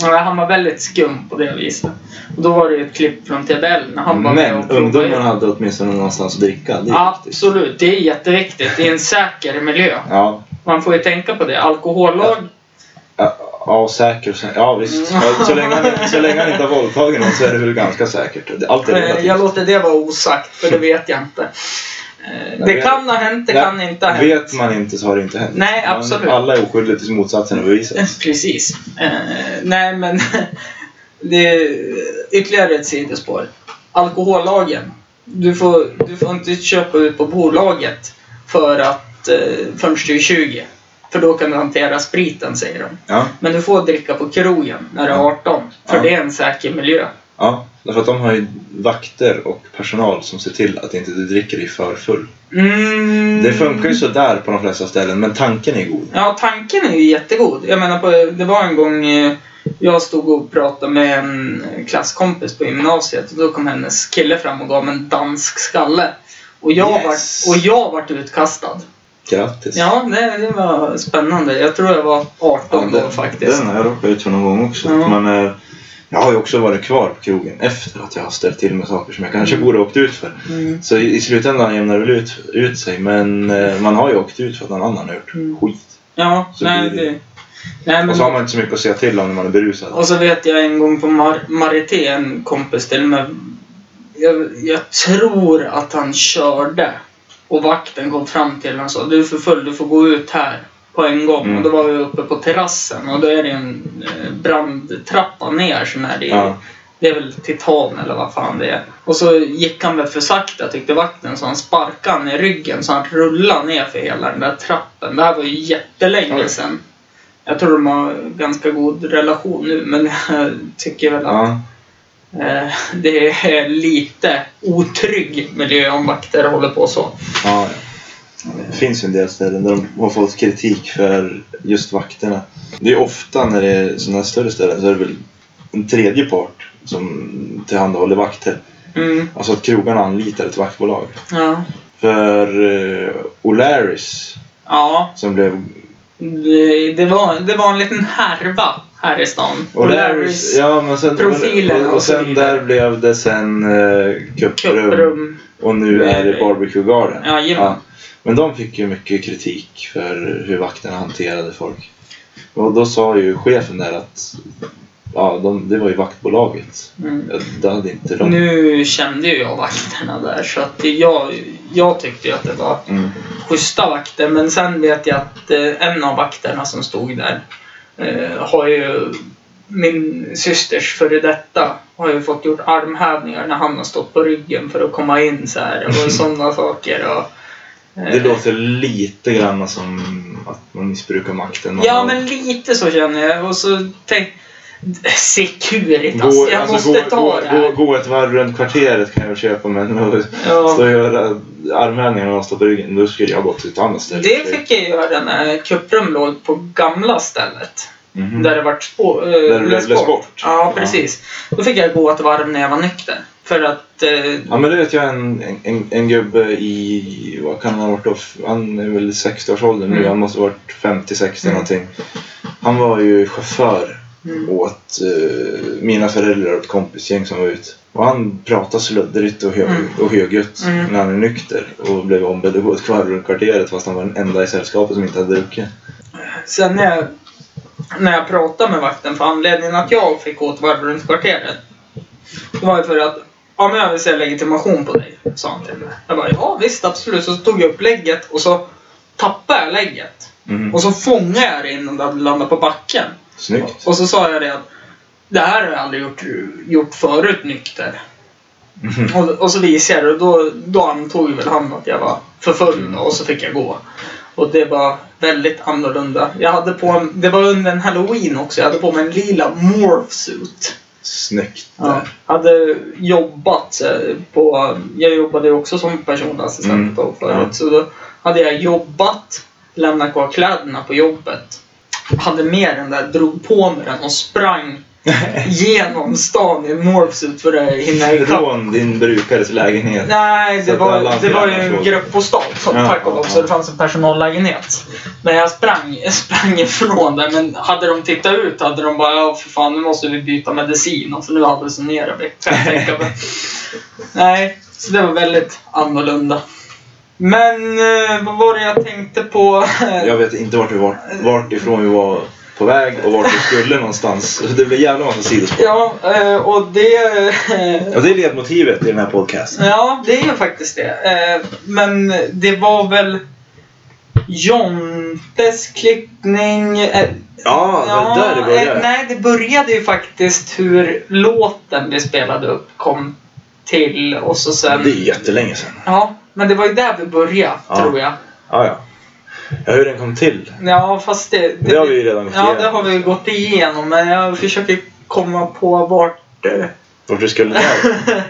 Speaker 1: Ja, han var väldigt skum på det viset. Och då var det ju ett klipp från TBL när han var med
Speaker 3: Men
Speaker 1: och provade
Speaker 3: ungdomarna
Speaker 1: igen.
Speaker 3: hade åtminstone någonstans att dricka. Det är viktigt.
Speaker 1: Absolut, det är jätteviktigt. Det är en säker miljö.
Speaker 3: Ja,
Speaker 1: Man får ju tänka på det. Alkohollag.
Speaker 3: Ja, ja säker. Ja, visst.
Speaker 1: Mm.
Speaker 3: Ja, så, länge han, så länge han inte har våldtagit någon så är det väl ganska säkert. Det- Allt är
Speaker 1: eh,
Speaker 3: relativt.
Speaker 1: Jag låter det vara osagt för det vet jag inte. Eh, Det
Speaker 3: vet-
Speaker 1: kan ha hänt, det
Speaker 3: Ja,
Speaker 1: kan inte ha hänt.
Speaker 3: Vet man inte så har det inte hänt.
Speaker 1: Nej,
Speaker 3: Man-
Speaker 1: absolut.
Speaker 3: Alla är oskyldiga tills motsatsen har bevisats.
Speaker 1: Precis. Eh, nej, men (laughs) det är ytterligare ett sidospår. Alkohollagen. Du får, du får inte köpa ut på bolaget för att, eh, förrän du är 20. För då kan du hantera spriten, säger de.
Speaker 3: Ja,
Speaker 1: Men du får dricka på krogen när du är 18. För
Speaker 3: Ja.
Speaker 1: det är en säker miljö.
Speaker 3: ja. Därför att de har ju vakter och personal som ser till att inte du dricker dig för full.
Speaker 1: Mm.
Speaker 3: Det funkar ju sådär på de flesta ställen, men tanken är god.
Speaker 1: Ja, tanken är ju jättegod. Jag menar, på, det var en gång eh, jag stod och pratade med en klasskompis på gymnasiet och då kom hennes kille fram och gav mig en dansk skalle. Och jag,
Speaker 3: Yes.
Speaker 1: var, och jag vart utkastad.
Speaker 3: Grattis.
Speaker 1: Ja, det, det var spännande. Jag tror jag var 18 då faktiskt.
Speaker 3: Den har jag råkat ut för någon gång också.
Speaker 1: Ja.
Speaker 3: Men eh, jag har ju också varit kvar på krogen efter att jag har ställt till med saker som jag kanske borde ha åkt ut för.
Speaker 1: Mm.
Speaker 3: Så i, i slutändan jämnar det väl ut, ut sig. Men eh, man har ju åkt ut för att någon annan har gjort
Speaker 1: Mm.
Speaker 3: skit.
Speaker 1: Ja,
Speaker 3: Så
Speaker 1: nej,
Speaker 3: blir det-
Speaker 1: det, nej,
Speaker 3: Och så har
Speaker 1: men,
Speaker 3: man inte så mycket att säga till om när man är berusad.
Speaker 1: och så vet jag en gång på Mar Marité, en kompis till mig. Jag, jag tror att han körde. Och vakten kom fram till honom och sa du är för full, du får gå ut här på en gång.
Speaker 3: Mm.
Speaker 1: Och då var vi uppe på terrassen och då är det en eh, brandtrappa ner som är i,
Speaker 3: Ja.
Speaker 1: det är väl titan eller vad fan det är. Och så gick han väl för sakta tyckte vakten så han sparkade han i ryggen så han rullade ner för hela den där trappen. Det här var ju jättelänge
Speaker 3: Oj.
Speaker 1: sedan. Jag tror de har ganska god relation nu men (laughs) jag tycker väl att
Speaker 3: Ja.
Speaker 1: eh, det är lite otrygg miljö om vakter håller på så.
Speaker 3: Ja, ja. Det finns ju en del ställen där de har fått kritik för just vakterna. Det är ofta när det är sådana här större ställen så är det väl en tredje part som tillhandahåller vakter.
Speaker 1: Mm,
Speaker 3: Alltså att krogarna anlitar ett vaktbolag.
Speaker 1: ja.
Speaker 3: För eh, O'Larrys
Speaker 1: Ja,
Speaker 3: som blev...
Speaker 1: det, det, var, det var en liten härva här i stan.
Speaker 3: O'Larrys, ja men sen...
Speaker 1: profilen
Speaker 3: och, och
Speaker 1: och så
Speaker 3: sen
Speaker 1: vidare.
Speaker 3: där blev det sen eh, kupprum.
Speaker 1: Kupprum.
Speaker 3: Och nu är det Barbecue Garden.
Speaker 1: Eh, Ja, jajamän.
Speaker 3: Men de fick ju mycket kritik för hur vakterna hanterade folk. Och då sa ju chefen där att ja, de, det var ju vaktbolaget.
Speaker 1: Mm.
Speaker 3: Ja, Det hade inte de...
Speaker 1: Nu kände ju jag vakterna där så att jag, jag tyckte ju att det var
Speaker 3: Mm.
Speaker 1: schyssta vakter. Men sen vet jag att eh, en av vakterna som stod där eh, har ju min systers före detta har ju fått gjort armhävningar när han har stått på ryggen för att komma in så här och sådana saker. Och, eh,
Speaker 3: Mm. Det låter lite grann som att man missbrukar makten. Man
Speaker 1: Ja,
Speaker 3: har-
Speaker 1: men lite så känner jag. Och så tänk...
Speaker 3: Gå,
Speaker 1: Securitas, jag
Speaker 3: alltså,
Speaker 1: måste
Speaker 3: gå,
Speaker 1: ta
Speaker 3: gå,
Speaker 1: det här.
Speaker 3: Gå, gå ett varv runt kvarteret kan jag väl köpa men att
Speaker 1: Ja.
Speaker 3: stå och göra armhävningar och stå på ryggen, då skulle jag gått till ett annat ställe.
Speaker 1: Det fick jag göra när Cuprum låg på gamla stället.
Speaker 3: Mhm.
Speaker 1: Där det vart spå, eh,
Speaker 3: det
Speaker 1: blev
Speaker 3: blev
Speaker 1: sport.
Speaker 3: sport.
Speaker 1: Ja, precis. Då fick jag gå ett varv när jag var nykter. För att... Eh,
Speaker 3: Ja men det vet jag en, en, en gubbe i, vad kan han ha varit då? Han är väl i 60-årsåldern nu,
Speaker 1: Mm.
Speaker 3: han måste ha varit 50-60
Speaker 1: Mm.
Speaker 3: någonting. Han var ju chaufför
Speaker 1: Mm.
Speaker 3: åt eh, mina föräldrar och ett kompisgäng som var ut. Och han pratade sluddrigt och, hög,
Speaker 1: Mm.
Speaker 3: och högljutt
Speaker 1: Mm.
Speaker 3: när han är nykter och blev ombedd att gå ett kvarv runt kvarteret fast han var den enda i sällskapet som inte hade druckit.
Speaker 1: sen när jag, när jag pratade med vakten, för anledningen att jag fick gå ett varv runt kvarteret. Det var ju för att Ja men jag vill se legitimation på dig, sa han till mig. Jag bara ja visst absolut. Så tog jag upp lägget och så tappade jag lägget.
Speaker 3: Mm.
Speaker 1: Och så fångade jag det innan det hade landat på backen.
Speaker 3: Snyggt.
Speaker 1: Och så sa jag det att det här har jag aldrig gjort, gjort förut nykter. Och, och så visade jag det och då, då antog väl han att jag var för full då, och så fick jag gå. Och det var väldigt annorlunda. Jag hade på en, det var under en halloween också, jag hade på mig en lila morphsuit.
Speaker 3: Snyggt.
Speaker 1: Ja. Hade jobbat eh, på, jag jobbade ju också som personlig assistent
Speaker 3: Mm.
Speaker 1: då förut.
Speaker 3: Ja.
Speaker 1: Så då hade jag jobbat, lämnat kvar kläderna på jobbet. Hade med den där, drog på mig den och sprang
Speaker 3: (laughs)
Speaker 1: genom stan i morphsuit för att hinna ikapp.
Speaker 3: Från din brukares lägenhet.
Speaker 1: Nej,
Speaker 3: Så
Speaker 1: det
Speaker 3: att alla
Speaker 1: var,
Speaker 3: hans
Speaker 1: det var ju
Speaker 3: grannar
Speaker 1: en
Speaker 3: såg.
Speaker 1: gruppbostad som
Speaker 3: Ja,
Speaker 1: tack och
Speaker 3: ja,
Speaker 1: lov
Speaker 3: ja.
Speaker 1: så det fanns en personallägenhet. Men jag sprang, (laughs) sprang ifrån det. Men hade de tittat ut hade de bara ja för fan nu måste vi byta medicin. Och för nu
Speaker 3: (laughs)
Speaker 1: hallucinerar vi. Kan jag tänka mig. Nej, så det var väldigt annorlunda. Men eh, vad var det jag tänkte på? (laughs)
Speaker 3: Jag vet inte vart vi var, vart ifrån vi var på väg och vart vi skulle någonstans. Så Det blir jävla massa sidospår.
Speaker 1: ja, eh, och det... eh,
Speaker 3: Ja, det är ledmotivet i den här podcasten.
Speaker 1: Ja, det är ju faktiskt det. Eh, Men det var väl Jontes klippning. eh,
Speaker 3: Ja, det var där det
Speaker 1: eh,
Speaker 3: började.
Speaker 1: Nej, det började ju faktiskt hur låten vi spelade upp kom till och så sen...
Speaker 3: Det är jättelänge sedan.
Speaker 1: Ja, men det var ju där vi började,
Speaker 3: Ja.
Speaker 1: tror jag.
Speaker 3: Ja, ja. Ja, hur den kom till.
Speaker 1: Ja, fast det... det,
Speaker 3: Det har vi ju redan gått
Speaker 1: Ja,
Speaker 3: igenom.
Speaker 1: det har vi ju gått igenom, men jag försöker komma på vart... eh,
Speaker 3: Vart vi skulle där.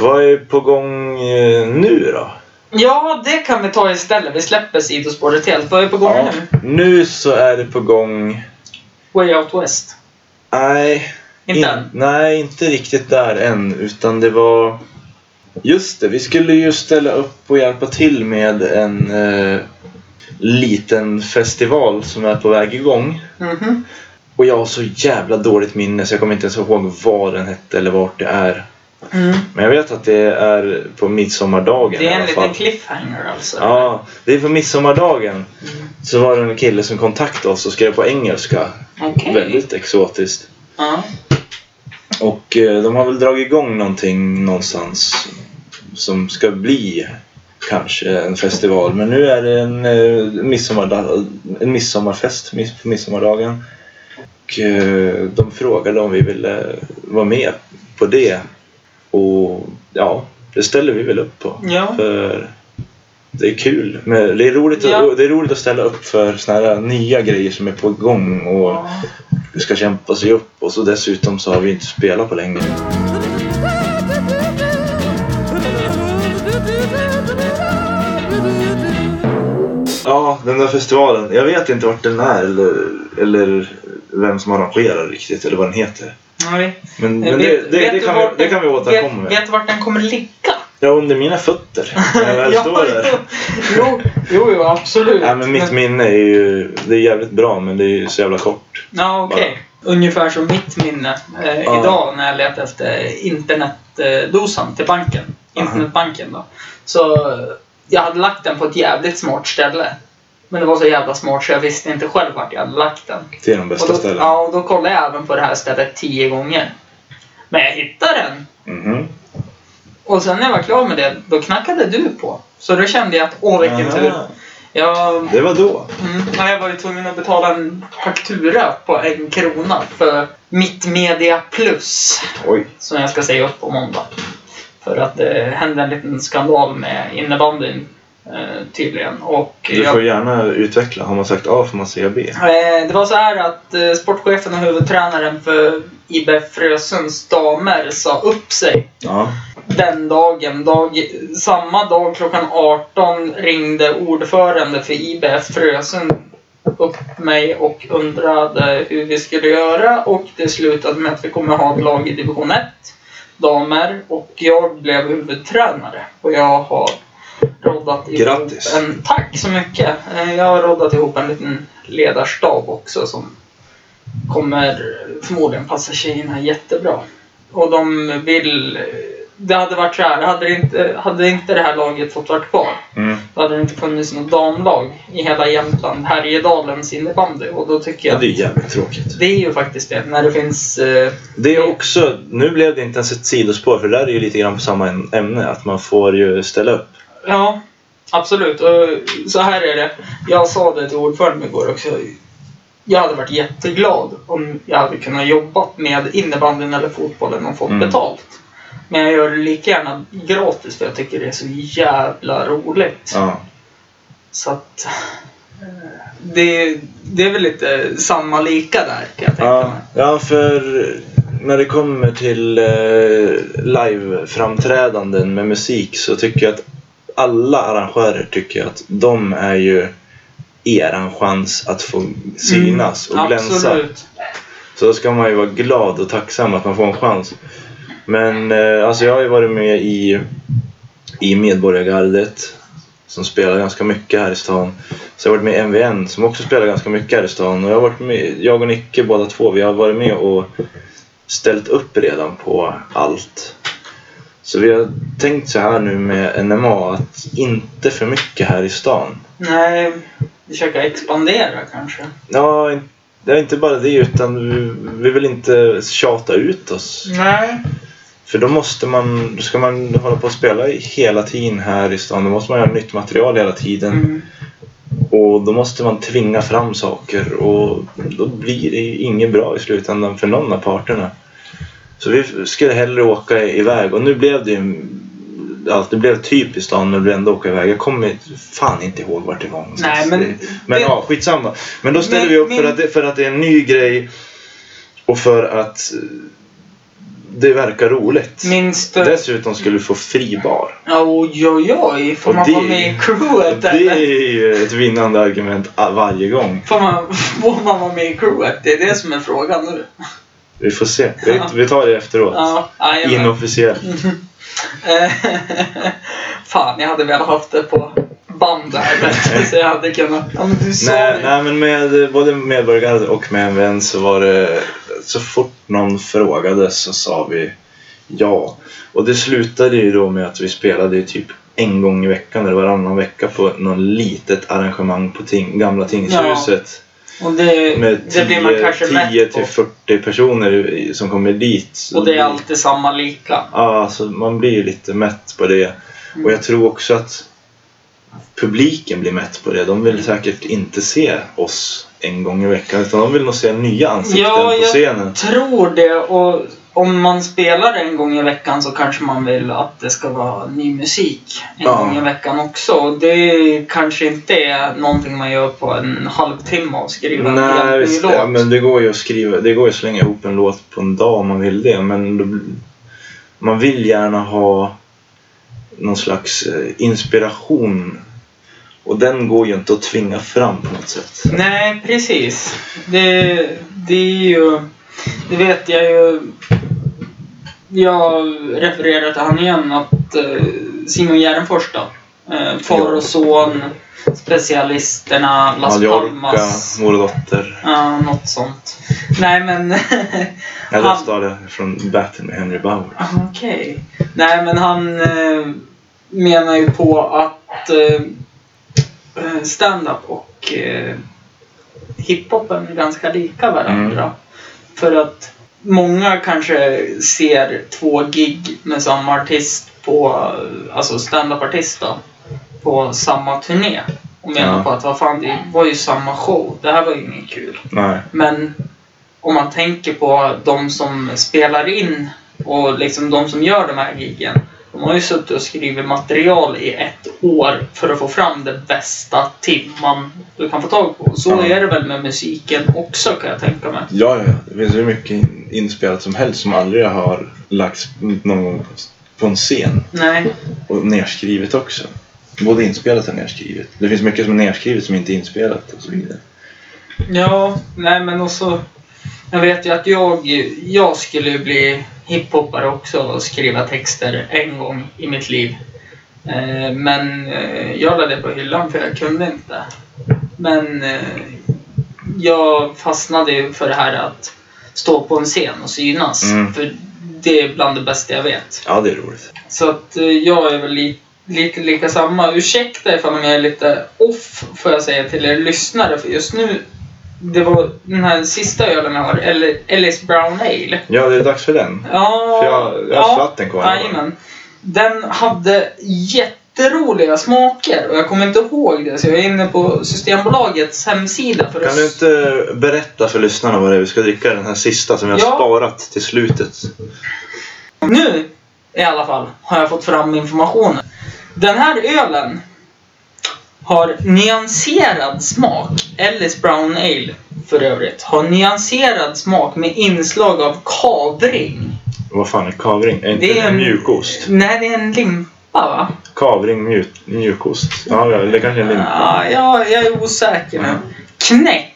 Speaker 3: Vad är på gång eh, nu då?
Speaker 1: Ja, det kan vi ta istället. Vi släpper sidospåret helt. Vad är på gång
Speaker 3: Ja,
Speaker 1: nu?
Speaker 3: nu så är det på gång...
Speaker 1: Way Out West.
Speaker 3: Nej,
Speaker 1: Inte
Speaker 3: in-
Speaker 1: än?
Speaker 3: nej, inte riktigt där än. Utan det var... Just det, vi skulle ju ställa upp och hjälpa till med en eh, liten festival som är på väg igång.
Speaker 1: Mhm.
Speaker 3: Och jag har så jävla dåligt minne så jag kommer inte ens ihåg vad den hette eller vart det är.
Speaker 1: Mm.
Speaker 3: Men jag vet att det är på midsommardagen
Speaker 1: Det
Speaker 3: i
Speaker 1: är
Speaker 3: alla
Speaker 1: en liten
Speaker 3: fall.
Speaker 1: cliffhanger alltså.
Speaker 3: Ja, det är på midsommardagen. Så var det en kille som kontaktade oss och skrev på engelska.
Speaker 1: Okej.
Speaker 3: Väldigt exotiskt.
Speaker 1: Ja.
Speaker 3: Och eh, de har väl dragit igång någonting någonstans som ska bli kanske en festival. Men nu är det en, eh, midsommarda- en midsommarfest mis- på midsommardagen. Och eh, de frågade om vi ville vara med på det. Och ja, det ställer vi väl upp på.
Speaker 1: Ja.
Speaker 3: För det är kul. Men det, är roligt att,
Speaker 1: Ja.
Speaker 3: och det är roligt att ställa upp för såna här nya grejer som är på gång. Och, vi ska kämpa sig upp och så dessutom så har vi inte spelat på länge. Ja, den där festivalen. Jag vet inte vart den är eller, eller vem som arrangerar riktigt eller vad den heter.
Speaker 1: Nej.
Speaker 3: Men, men det, det, det, kan vi, det kan vi återkomma
Speaker 1: Vet,
Speaker 3: med.
Speaker 1: vet du vart den kommer ligga?
Speaker 3: Ja, under
Speaker 1: (laughs)
Speaker 3: mina fötter. När jag väl står där.
Speaker 1: jo, jo, jo, absolut.
Speaker 3: Nej, men mitt minne är ju... Det är jävligt bra men det är ju så jävla kort.
Speaker 1: Ja, okej. Ungefär som mitt minne eh,
Speaker 3: Ja.
Speaker 1: idag när jag letade efter internetdosan till banken. Internetbanken då. Så eh, jag hade lagt den på ett jävligt smart ställe. Men det var så jävla smart så jag visste inte själv vart jag hade lagt den.
Speaker 3: Det är de bästa
Speaker 1: och då,
Speaker 3: ställena.
Speaker 1: ja, och då kollade jag även på det här stället tio gånger. Men jag hittade den.
Speaker 3: Mhm.
Speaker 1: Och sen när jag var klar med det, då knackade du på. Så då kände jag att åh vilken
Speaker 3: Aha.
Speaker 1: tur. Jag,
Speaker 3: Det var då.
Speaker 1: Mm, men jag var ju tvungen att betala en faktura på en krona för mitt media plus.
Speaker 3: Oj.
Speaker 1: Som jag ska säga upp på måndag. För att det hände en liten skandal med innebandyn eh, tydligen. Och
Speaker 3: Du
Speaker 1: jag-
Speaker 3: får gärna utveckla. Har man sagt A får man säga B.
Speaker 1: Eh, Det var så här att eh, sportchefen och huvudtränaren för IBF Frösunds damer sa upp sig
Speaker 3: Ja.
Speaker 1: den dagen. Dag, samma dag klockan 18 ringde ordförande för IBF Frösund upp mig och undrade hur vi skulle göra och det slutade med att vi kommer ha ett lag i division 1, damer, och jag blev huvudtränare. Och jag har roddat ihop
Speaker 3: Grattis.
Speaker 1: en... Tack så mycket! Eh, Jag har roddat ihop en liten ledarstab också som kommer förmodligen passa tjejerna jättebra. Och de vill... Det hade varit så här, hade, det inte, hade inte det här laget fått vara kvar
Speaker 3: Mm.
Speaker 1: då hade det inte funnits något damlag i hela Jämtland, Härjedalens innebandy. Och då tycker
Speaker 3: ja.
Speaker 1: jag...
Speaker 3: Det är jävligt tråkigt.
Speaker 1: Det är ju faktiskt det, när det finns... Eh,
Speaker 3: Det är också, nu blev det inte ens ett sidospår för där är ju lite grann på samma ämne att man får ju ställa upp.
Speaker 1: ja, absolut. Och så här är det. Jag sa det till ordföranden igår också. Jag hade varit jätteglad om jag hade kunnat jobba med innebandyn eller fotbollen och fått
Speaker 3: Mm.
Speaker 1: betalt. Men jag gör det lika gärna gratis för jag tycker det är så jävla roligt.
Speaker 3: Ja.
Speaker 1: Så att... eh, Det, det är väl lite samma lika där kan jag tänka
Speaker 3: Ja,
Speaker 1: mig.
Speaker 3: ja, för när det kommer till eh, live-framträdanden med musik så tycker jag att alla arrangörer tycker att de är ju eran chans att få synas och glänsa.
Speaker 1: Mm. Absolut.
Speaker 3: Så då ska man ju vara glad och tacksam att man får en chans. Men eh, alltså jag har ju varit med i, i Medborgargardet som spelar ganska mycket här i stan. Så jag har varit med i MVN som också spelar ganska mycket här i stan. Och jag, har varit med, jag och Nicke båda två, vi har varit med och ställt upp redan på allt. Så vi har tänkt så här nu med NMA att inte för mycket här i stan.
Speaker 1: Nej, försöka expandera kanske.
Speaker 3: Ja, det är inte bara det utan vi, vi vill inte tjata ut oss.
Speaker 1: Nej.
Speaker 3: För då måste man, då ska man hålla på och spela hela tiden här i stan. Då måste man göra nytt material hela tiden.
Speaker 1: Mm.
Speaker 3: Och då måste man tvinga fram saker och då blir det ju inget bra i slutändan för någon av parterna. Så vi skulle hellre åka iväg och nu blev det ju allt, det blev typiskt stan men vi ändå åka iväg. Jag kommer fan inte ihåg vart det var någonstans.
Speaker 1: Nej, men-
Speaker 3: Det- men
Speaker 1: det-
Speaker 3: ja, skitsamma. Men då ställer
Speaker 1: Men-
Speaker 3: vi upp för
Speaker 1: men-
Speaker 3: att, det, för att det är en ny grej och för att eh, det verkar roligt.
Speaker 1: Minns du?
Speaker 3: Dessutom skulle vi få fribar.
Speaker 1: eh, Oj, oj, oj. Får
Speaker 3: Och
Speaker 1: man
Speaker 3: det-
Speaker 1: vara med i crewet
Speaker 3: Det
Speaker 1: eller?
Speaker 3: är ju ett vinnande argument all- varje gång.
Speaker 1: Får man, (laughs) får man vara med i crewet? Det är det som är frågan nu.
Speaker 3: Vi får se. Vi, vi tar det efteråt.
Speaker 1: Ja, Mm. jajamän.
Speaker 3: Inofficiellt.
Speaker 1: Eh, (laughs) Fan, jag hade velat haft det på band där. (laughs) men- Så jag hade kunnat... Ja, men du sa
Speaker 3: Nej,
Speaker 1: det.
Speaker 3: nej, men med både medborgare och med en vän så var det så fort någon frågade så sa vi ja. Och det slutade ju då med att vi spelade ju typ en gång i veckan eller varannan vecka på någon litet arrangemang på ting, gamla tingshuset.
Speaker 1: Och det,
Speaker 3: Med
Speaker 1: det blir man kanske
Speaker 3: 10
Speaker 1: mätt
Speaker 3: till
Speaker 1: på.
Speaker 3: 40 personer i- som kommer dit. Så
Speaker 1: Och det är alltid samma lika.
Speaker 3: Ja, alltså man blir ju lite mätt på det. Och jag tror också att publiken blir mätt på det. De vill säkert inte se oss en gång i veckan utan de vill nog se nya ansikten
Speaker 1: Ja,
Speaker 3: på
Speaker 1: jag-
Speaker 3: scenen.
Speaker 1: tror det och om man spelar en gång i veckan så kanske man vill att det ska vara ny musik en
Speaker 3: Ja.
Speaker 1: gång i veckan också. Och Det kanske inte är någonting man gör på en halvtimme och skriver en
Speaker 3: Nej,
Speaker 1: helt ny
Speaker 3: visst,
Speaker 1: låt.
Speaker 3: ja, men det går ju att skriva, det går ju att slänga ihop en låt på en dag om man vill det. Men då, man vill gärna ha någon slags eh, inspiration. Och den går ju inte att tvinga fram på något sätt.
Speaker 1: Nej, precis. Det, det är ju... Det vet jag ju... Jag refererar till han igen, att eh, Simon Järnfors då. Eh, far och son, specialisterna, Las
Speaker 3: Mallorca,
Speaker 1: Palmas.
Speaker 3: mor och dotter.
Speaker 1: Ja, något sånt. Nej men... (laughs) Han-
Speaker 3: Jag läste av det från Battle med Henry Bauer.
Speaker 1: Okej. Nej men han eh, menar ju på att eh, eh, stand-up och eh, hiphopen är ganska lika varandra. För att många kanske ser två gig med samma artist på, eh, alltså stand-up-artist då, på samma turné. Och menar
Speaker 3: Ja.
Speaker 1: på att vad fan, det var ju samma show. Det här var ju inget kul.
Speaker 3: Nej.
Speaker 1: Men om man tänker på de som spelar in och liksom de som gör de här giggen. De har ju suttit och skrivit material i ett år för att få fram det bästa timman du kan få tag på. Så
Speaker 3: Ja.
Speaker 1: är det väl med musiken också kan jag tänka mig.
Speaker 3: Ja, ja, ja. Det finns hur mycket in- inspelat som helst som aldrig har lagts någon gång på en scen.
Speaker 1: Nej,
Speaker 3: Och nerskrivet också. Både inspelat och nerskrivet. Det finns mycket som är nerskrivet som inte är inspelat och så vidare.
Speaker 1: ja, nej men också. Jag vet ju att jag, jag skulle ju bli hiphoppare också och skriva texter en gång i mitt liv. Eh, Men eh, jag la det på hyllan för jag kunde inte. Men eh, jag fastnade ju för det här att stå på en scen och synas.
Speaker 3: Mm.
Speaker 1: För det är bland det bästa jag vet.
Speaker 3: Ja, det är roligt.
Speaker 1: Så att eh, jag är väl li- lite lika samma. Ursäkta ifall jag är lite off får jag säga till er lyssnare. För just nu, det var den här sista ölen jag har, eller Ellis Brown Ale.
Speaker 3: Ja, det är dags för den.
Speaker 1: Ja,
Speaker 3: För jag- jag har svatten kvar.
Speaker 1: Jajamän. Den hade jätteroliga smaker och jag kommer inte ihåg det så jag är inne på Systembolagets hemsida för
Speaker 3: Kan
Speaker 1: att
Speaker 3: du inte berätta för lyssnarna vad det är vi ska dricka? Den här sista som jag har
Speaker 1: Ja.
Speaker 3: sparat till slutet.
Speaker 1: Nu i alla fall har jag fått fram informationen. Den här ölen har nyanserad smak. Ellis Brown Ale för övrigt. Har nyanserad smak med inslag av kavring.
Speaker 3: Vad fan är kavring? Är inte
Speaker 1: Det
Speaker 3: det
Speaker 1: är en-
Speaker 3: mjukost?
Speaker 1: Nej, det är en limpa va?
Speaker 3: Kavring, mjuk, mjukost. Ja, ja, det kanske är en limpa.
Speaker 1: Ja, jag, jag är osäker nu.
Speaker 3: Mm.
Speaker 1: Knäck,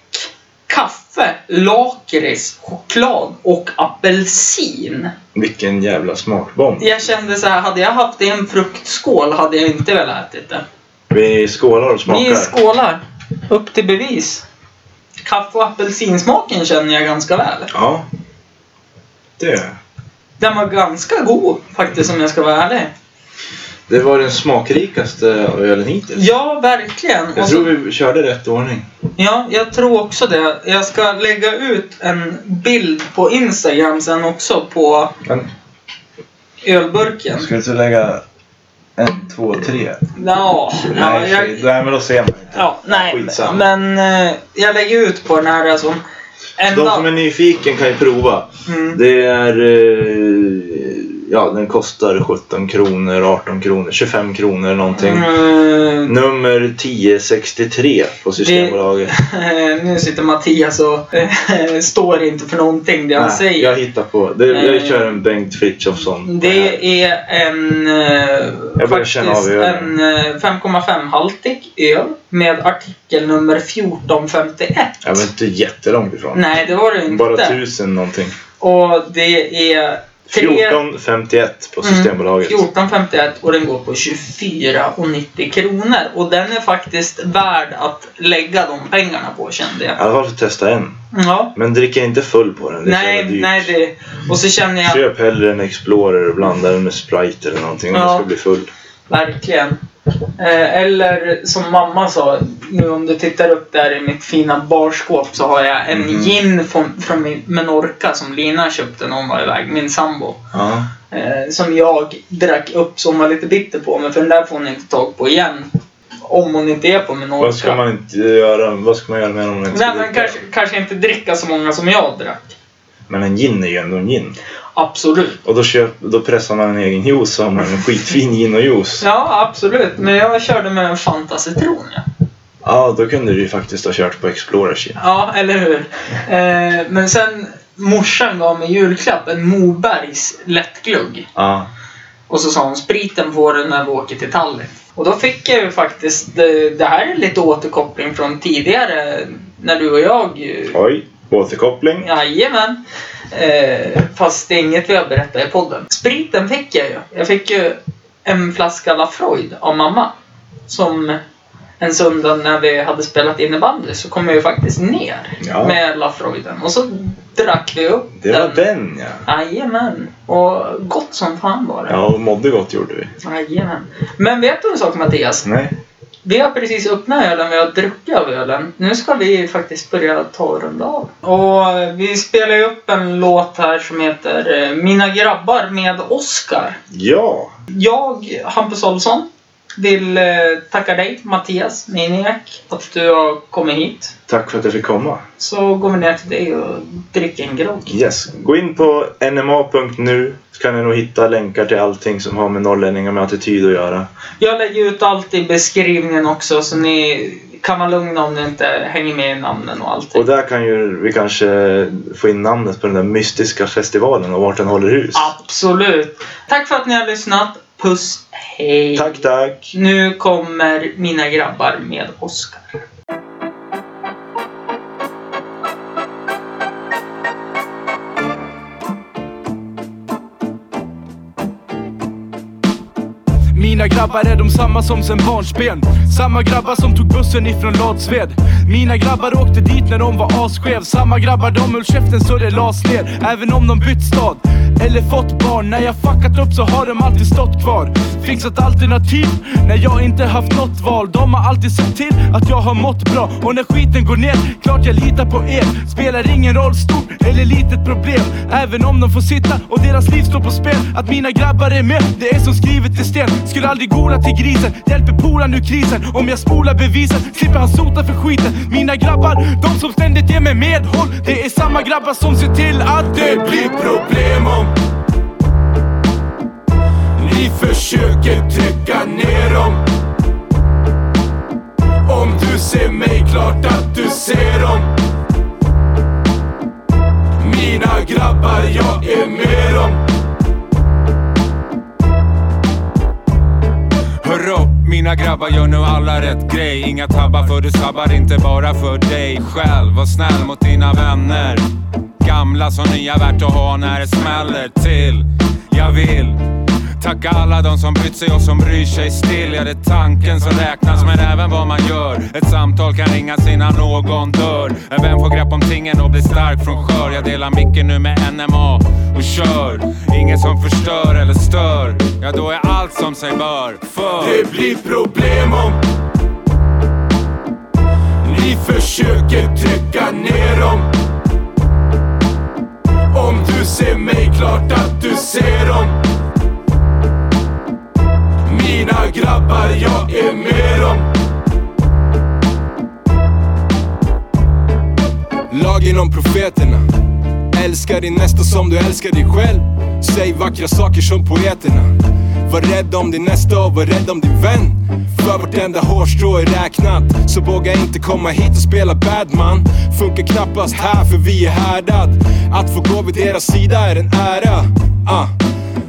Speaker 1: kaffe, lakrits, choklad och apelsin.
Speaker 3: Vilken jävla smakbomb.
Speaker 1: Jag kände så här, hade jag haft det i en fruktskål hade jag inte velat ätit det.
Speaker 3: Vi skålar och smakar.
Speaker 1: Vi skålar. Upp till bevis. Kaffe och apelsinsmaken känner jag ganska väl.
Speaker 3: Ja. Det gör jag.
Speaker 1: Den var ganska god faktiskt om jag ska vara ärlig.
Speaker 3: Det var den smakrikaste av ölen hittills.
Speaker 1: Ja, alltså- verkligen.
Speaker 3: Jag
Speaker 1: Och så-
Speaker 3: tror vi körde rätt ordning.
Speaker 1: Ja, jag tror också det. Jag ska lägga ut en bild på Instagram sen också på
Speaker 8: Men
Speaker 1: ölburken.
Speaker 8: ska du inte lägga en, två, tre?
Speaker 1: Ja, ja,
Speaker 8: Nej,
Speaker 1: jag,
Speaker 8: shit. Nej men då ser man inte.
Speaker 1: ja nej.
Speaker 3: Skitsamma.
Speaker 1: Men eh, jag lägger ut på den här alltså.
Speaker 3: De som är
Speaker 1: Enda...
Speaker 3: nyfiken kan ju prova.
Speaker 1: Mm.
Speaker 3: Det är... eh, Ja, den kostar 17 kronor, 18 kronor, 25 kronor någonting.
Speaker 1: Mm,
Speaker 3: Nummer 1063 på Systembolaget.
Speaker 1: (laughs) nu sitter Mattias och (laughs) eh, står inte för någonting det han
Speaker 3: Nej,
Speaker 1: säger.
Speaker 3: jag hittar på. Det, jag
Speaker 1: Eh,
Speaker 3: kör en Bengt Frithiofsson.
Speaker 1: Det är en eh,
Speaker 3: Jag börjar känna av
Speaker 1: faktiskt en
Speaker 3: ölen.
Speaker 1: eh, 5,5 haltig öl med artikel nummer 1451.
Speaker 3: Jag var inte jättelångt ifrån.
Speaker 1: Nej, det var det inte.
Speaker 3: Bara tusen någonting.
Speaker 1: Och det är tre-
Speaker 3: 1451 på
Speaker 1: Mm,
Speaker 3: Systembolaget.
Speaker 1: 1451 och den går på 24,90 kronor. Och den är faktiskt värd att lägga de pengarna på kände
Speaker 3: I
Speaker 1: jag.
Speaker 3: alla fall för att testa en.
Speaker 1: Ja.
Speaker 3: Men drick inte full på den. Det är så
Speaker 1: Nej,
Speaker 3: jävla dyrt.
Speaker 1: nej det... Och så känner jag
Speaker 3: Köp hellre en Explorer och blanda den med Sprite eller någonting om
Speaker 1: Ja.
Speaker 3: du ska bli full.
Speaker 1: Verkligen. Eh, Eller som mamma sa, nu om du tittar upp där i mitt fina barskåp så har jag en
Speaker 3: Mm.
Speaker 1: gin från, från min- Menorca som Lina köpte när hon var iväg, min sambo.
Speaker 3: Ja.
Speaker 1: Eh, Som jag drack upp så hon var lite bitter på mig för den där får hon inte tag på igen. Om hon inte är på Menorca.
Speaker 3: Vad ska man inte göra? Vad ska man göra med den om man inte
Speaker 1: Nej
Speaker 3: ska
Speaker 1: men
Speaker 3: dricka?
Speaker 1: kanske, kanske inte dricka så många som jag drack.
Speaker 3: Men en gin är ju ändå en gin.
Speaker 1: Absolut.
Speaker 3: Och då, köp, då pressar man en egen juice och har man en skitfin gin och juice. Ja,
Speaker 1: Ja absolut, men jag körde med en Fanta citron ja.
Speaker 3: då kunde du ju faktiskt ha kört på Explorer gin.
Speaker 1: Ja, eller hur? Eh, men sen morsan gav mig julklapp en Mobergs lättglugg.
Speaker 3: Ja.
Speaker 1: Och så sa hon spriten får du när vi åker till Tallinn. Och då fick jag ju faktiskt, eh, det här är lite återkoppling från tidigare när du och jag... eh,
Speaker 3: Oj, återkoppling.
Speaker 1: Jajamän! Eh, fast det är inget vi har berättat i podden. Spriten fick jag ju. Jag fick ju en flaska Lafroid av mamma. Som en söndag när vi hade spelat innebandy så kom jag ju faktiskt ner
Speaker 3: Ja.
Speaker 1: med Lafroiden. Och så drack vi upp
Speaker 3: Det var den ja.
Speaker 1: Jajamän! Och gott som fan var det.
Speaker 3: Ja, och mådde gott gjorde vi.
Speaker 1: Jajamän. Men vet du en sak Mattias?
Speaker 3: Nej.
Speaker 1: Vi har precis öppnat ölen, vi har druckit av ölen. Nu ska vi faktiskt börja ta och runda av. Och eh, vi spelar ju upp en låt här som heter eh, Mina grabbar med Oscar.
Speaker 3: Ja.
Speaker 1: Jag, Hampus Olsson, vill eh, tacka dig Mattias Miniak att du har kommit hit.
Speaker 3: Tack för att jag fick komma.
Speaker 1: Så går vi ner till dig och dricker en grogg.
Speaker 3: Yes. Gå in på nma.nu så kan ni nog hitta länkar till allting som har med norrlänningar med attityd att göra.
Speaker 1: Jag lägger ut allt i beskrivningen också så ni kan vara lugna om ni inte hänger med i namnen och allting.
Speaker 3: Och där kan ju vi kanske få in namnet på den där mystiska festivalen och vart den håller hus.
Speaker 1: Absolut. Tack för att ni har lyssnat. Puss, hej.
Speaker 3: Tack, tack.
Speaker 1: Nu kommer mina grabbar med Oscar.
Speaker 4: Mina grabbar är de samma som sen barnsben Samma grabbar som tog bussen ifrån Latsved Mina grabbar åkte dit när de var asskev Samma grabbar de höll käften så det las ner Även om de bytt stad eller fått barn När jag fuckat upp så har de alltid stått kvar Fixat alternativ när jag inte haft något val De har alltid sett till att jag har mått bra Och när skiten går ner, klart jag litar på er Spelar ingen roll, stort eller litet problem Även om de får sitta och deras liv står på spel Att mina grabbar är med, det är som skrivet i sten Skulle aldrig gola till grisen, hjälper polaren ur krisen Om jag spolar bevisen, slipper han sota för skiten Mina grabbar, de som ständigt ger mig medhåll Det är samma grabbar som ser till att det blir problem om
Speaker 5: Ni försöker trycka ner dem Om du ser mig, klart att du ser dem Mina grabbar, jag är med dem Hör upp, mina grabbar, gör nu alla rätt grej Inga tabbar för du sabbar inte bara för dig själv Var snäll mot dina vänner Gamla som nya värt att ha när det smäller till Jag vill Tacka alla de som brytt sig och som bryr sig still. Ja, det är tanken som räknas, men även vad man gör. Ett samtal kan ringas innan någon dör. En vän får grepp om tingen och blir stark från skör. Jag delar micken nu med NMA och kör. Ingen som förstör eller stör. Ja, då är allt som sig bör. För...
Speaker 6: Det blir problem om ni försöker trycka ner dem. Om du ser mig, klart att du ser dem. Mina grabbar, jag är med dem. Lagen om profeterna Älska din nästa som du älskar dig själv Säg vackra saker som poeterna Var rädd om din nästa och var rädd om din vän För vartenda hårstrå är räknat Så våga inte komma hit och spela badman Funkar knappast här för vi är härdad Att få gå vid deras sida är en ära ah.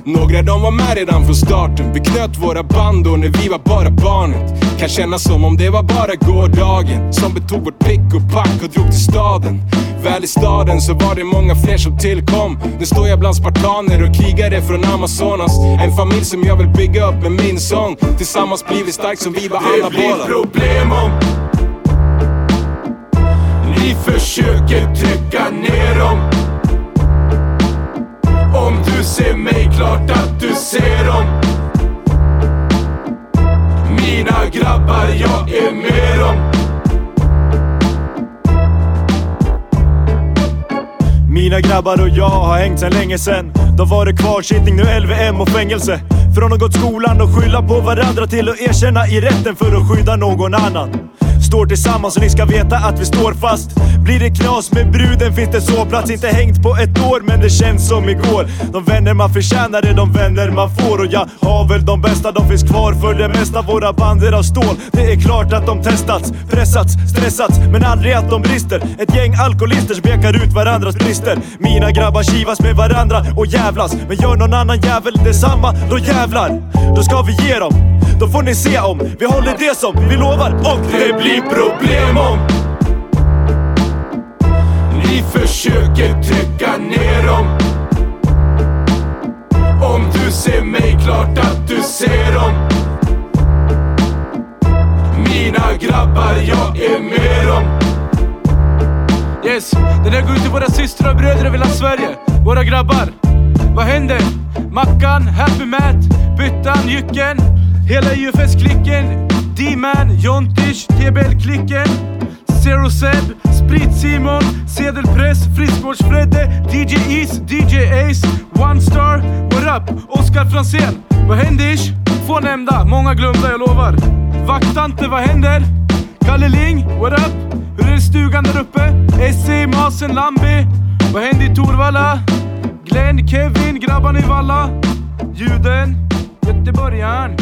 Speaker 6: Några de var med redan från starten Vi knöt våra band och när vi var bara barnet Kan kännas som om det var bara gårdagen Som betog vårt pick och pack och drog till staden Väl i staden så var det många fler som tillkom Nu står jag bland spartaner och krigare från Amazonas En familj som jag vill bygga upp med min sång Tillsammans blir vi stark som vi var alla båda problem om Ni försöker trycka ner dem om du ser mig, klart att du ser dem Mina grabbar, jag är med dem
Speaker 7: Mina grabbar och jag har hängt sen länge sen. Då var det kvarsittning, nu LVM och fängelse. Från att gått skolan och skylla på varandra till att erkänna i rätten för att skydda någon annan. Står tillsammans och ni ska veta att vi står fast. Blir det knas med bruden finns det sovplats. Inte hängt på ett år men det känns som igår. De vänner man förtjänar är de vänner man får. Och jag har väl de bästa, de finns kvar för det mesta. Våra band är av stål. Det är klart att de testats, pressats, stressats. Men aldrig att de brister. Ett gäng alkoholister som pekar ut varandras brister. Mina grabbar kivas med varandra och jävlas. Men gör någon annan jävel detsamma, då jävlar. Då ska vi ge dem. Då får ni se om vi håller det som vi lovar och
Speaker 6: Det blir problem om Ni försöker trycka ner dem Om du ser mig, klart att du ser dem Mina grabbar, jag är med dem
Speaker 4: Yes, det där går ut till våra systrar och bröder över hela Sverige. Våra grabbar. Vad händer? Mackan, Happy Matt, Byttan, Jycken. Hela IFS-klicken. D-Man, Jontish, TBL-klicken. Zero Seb, Sprit-Simon, Sedelpress, Friskvårds-Fredde, DJ Is, DJ Ace, One Star, What Up, Oskar Franzén. Vad händer ish? Få nämnda, många glömda, jag lovar. Vaktante, vad händer? Kalle Ling, what up? Hur är det i stugan där uppe? SC, Masen, Lambi. Vad händer i Torvalla? Glenn, Kevin, grabbarna i Valla. Juden, göteborgaren.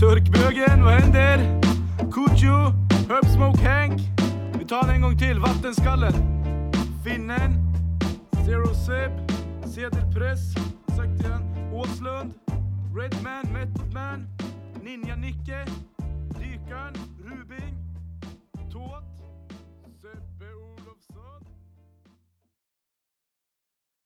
Speaker 4: Turkbögen, vad händer? Kujo, Herb Smoke Hank. Vi tar den en gång till. Vattenskallen. Finnen. Zero Seb. Sedelpress. Sagt igen. Åslund. Redman, Method Man. Ninja Nicke. Dykaren. Ruben.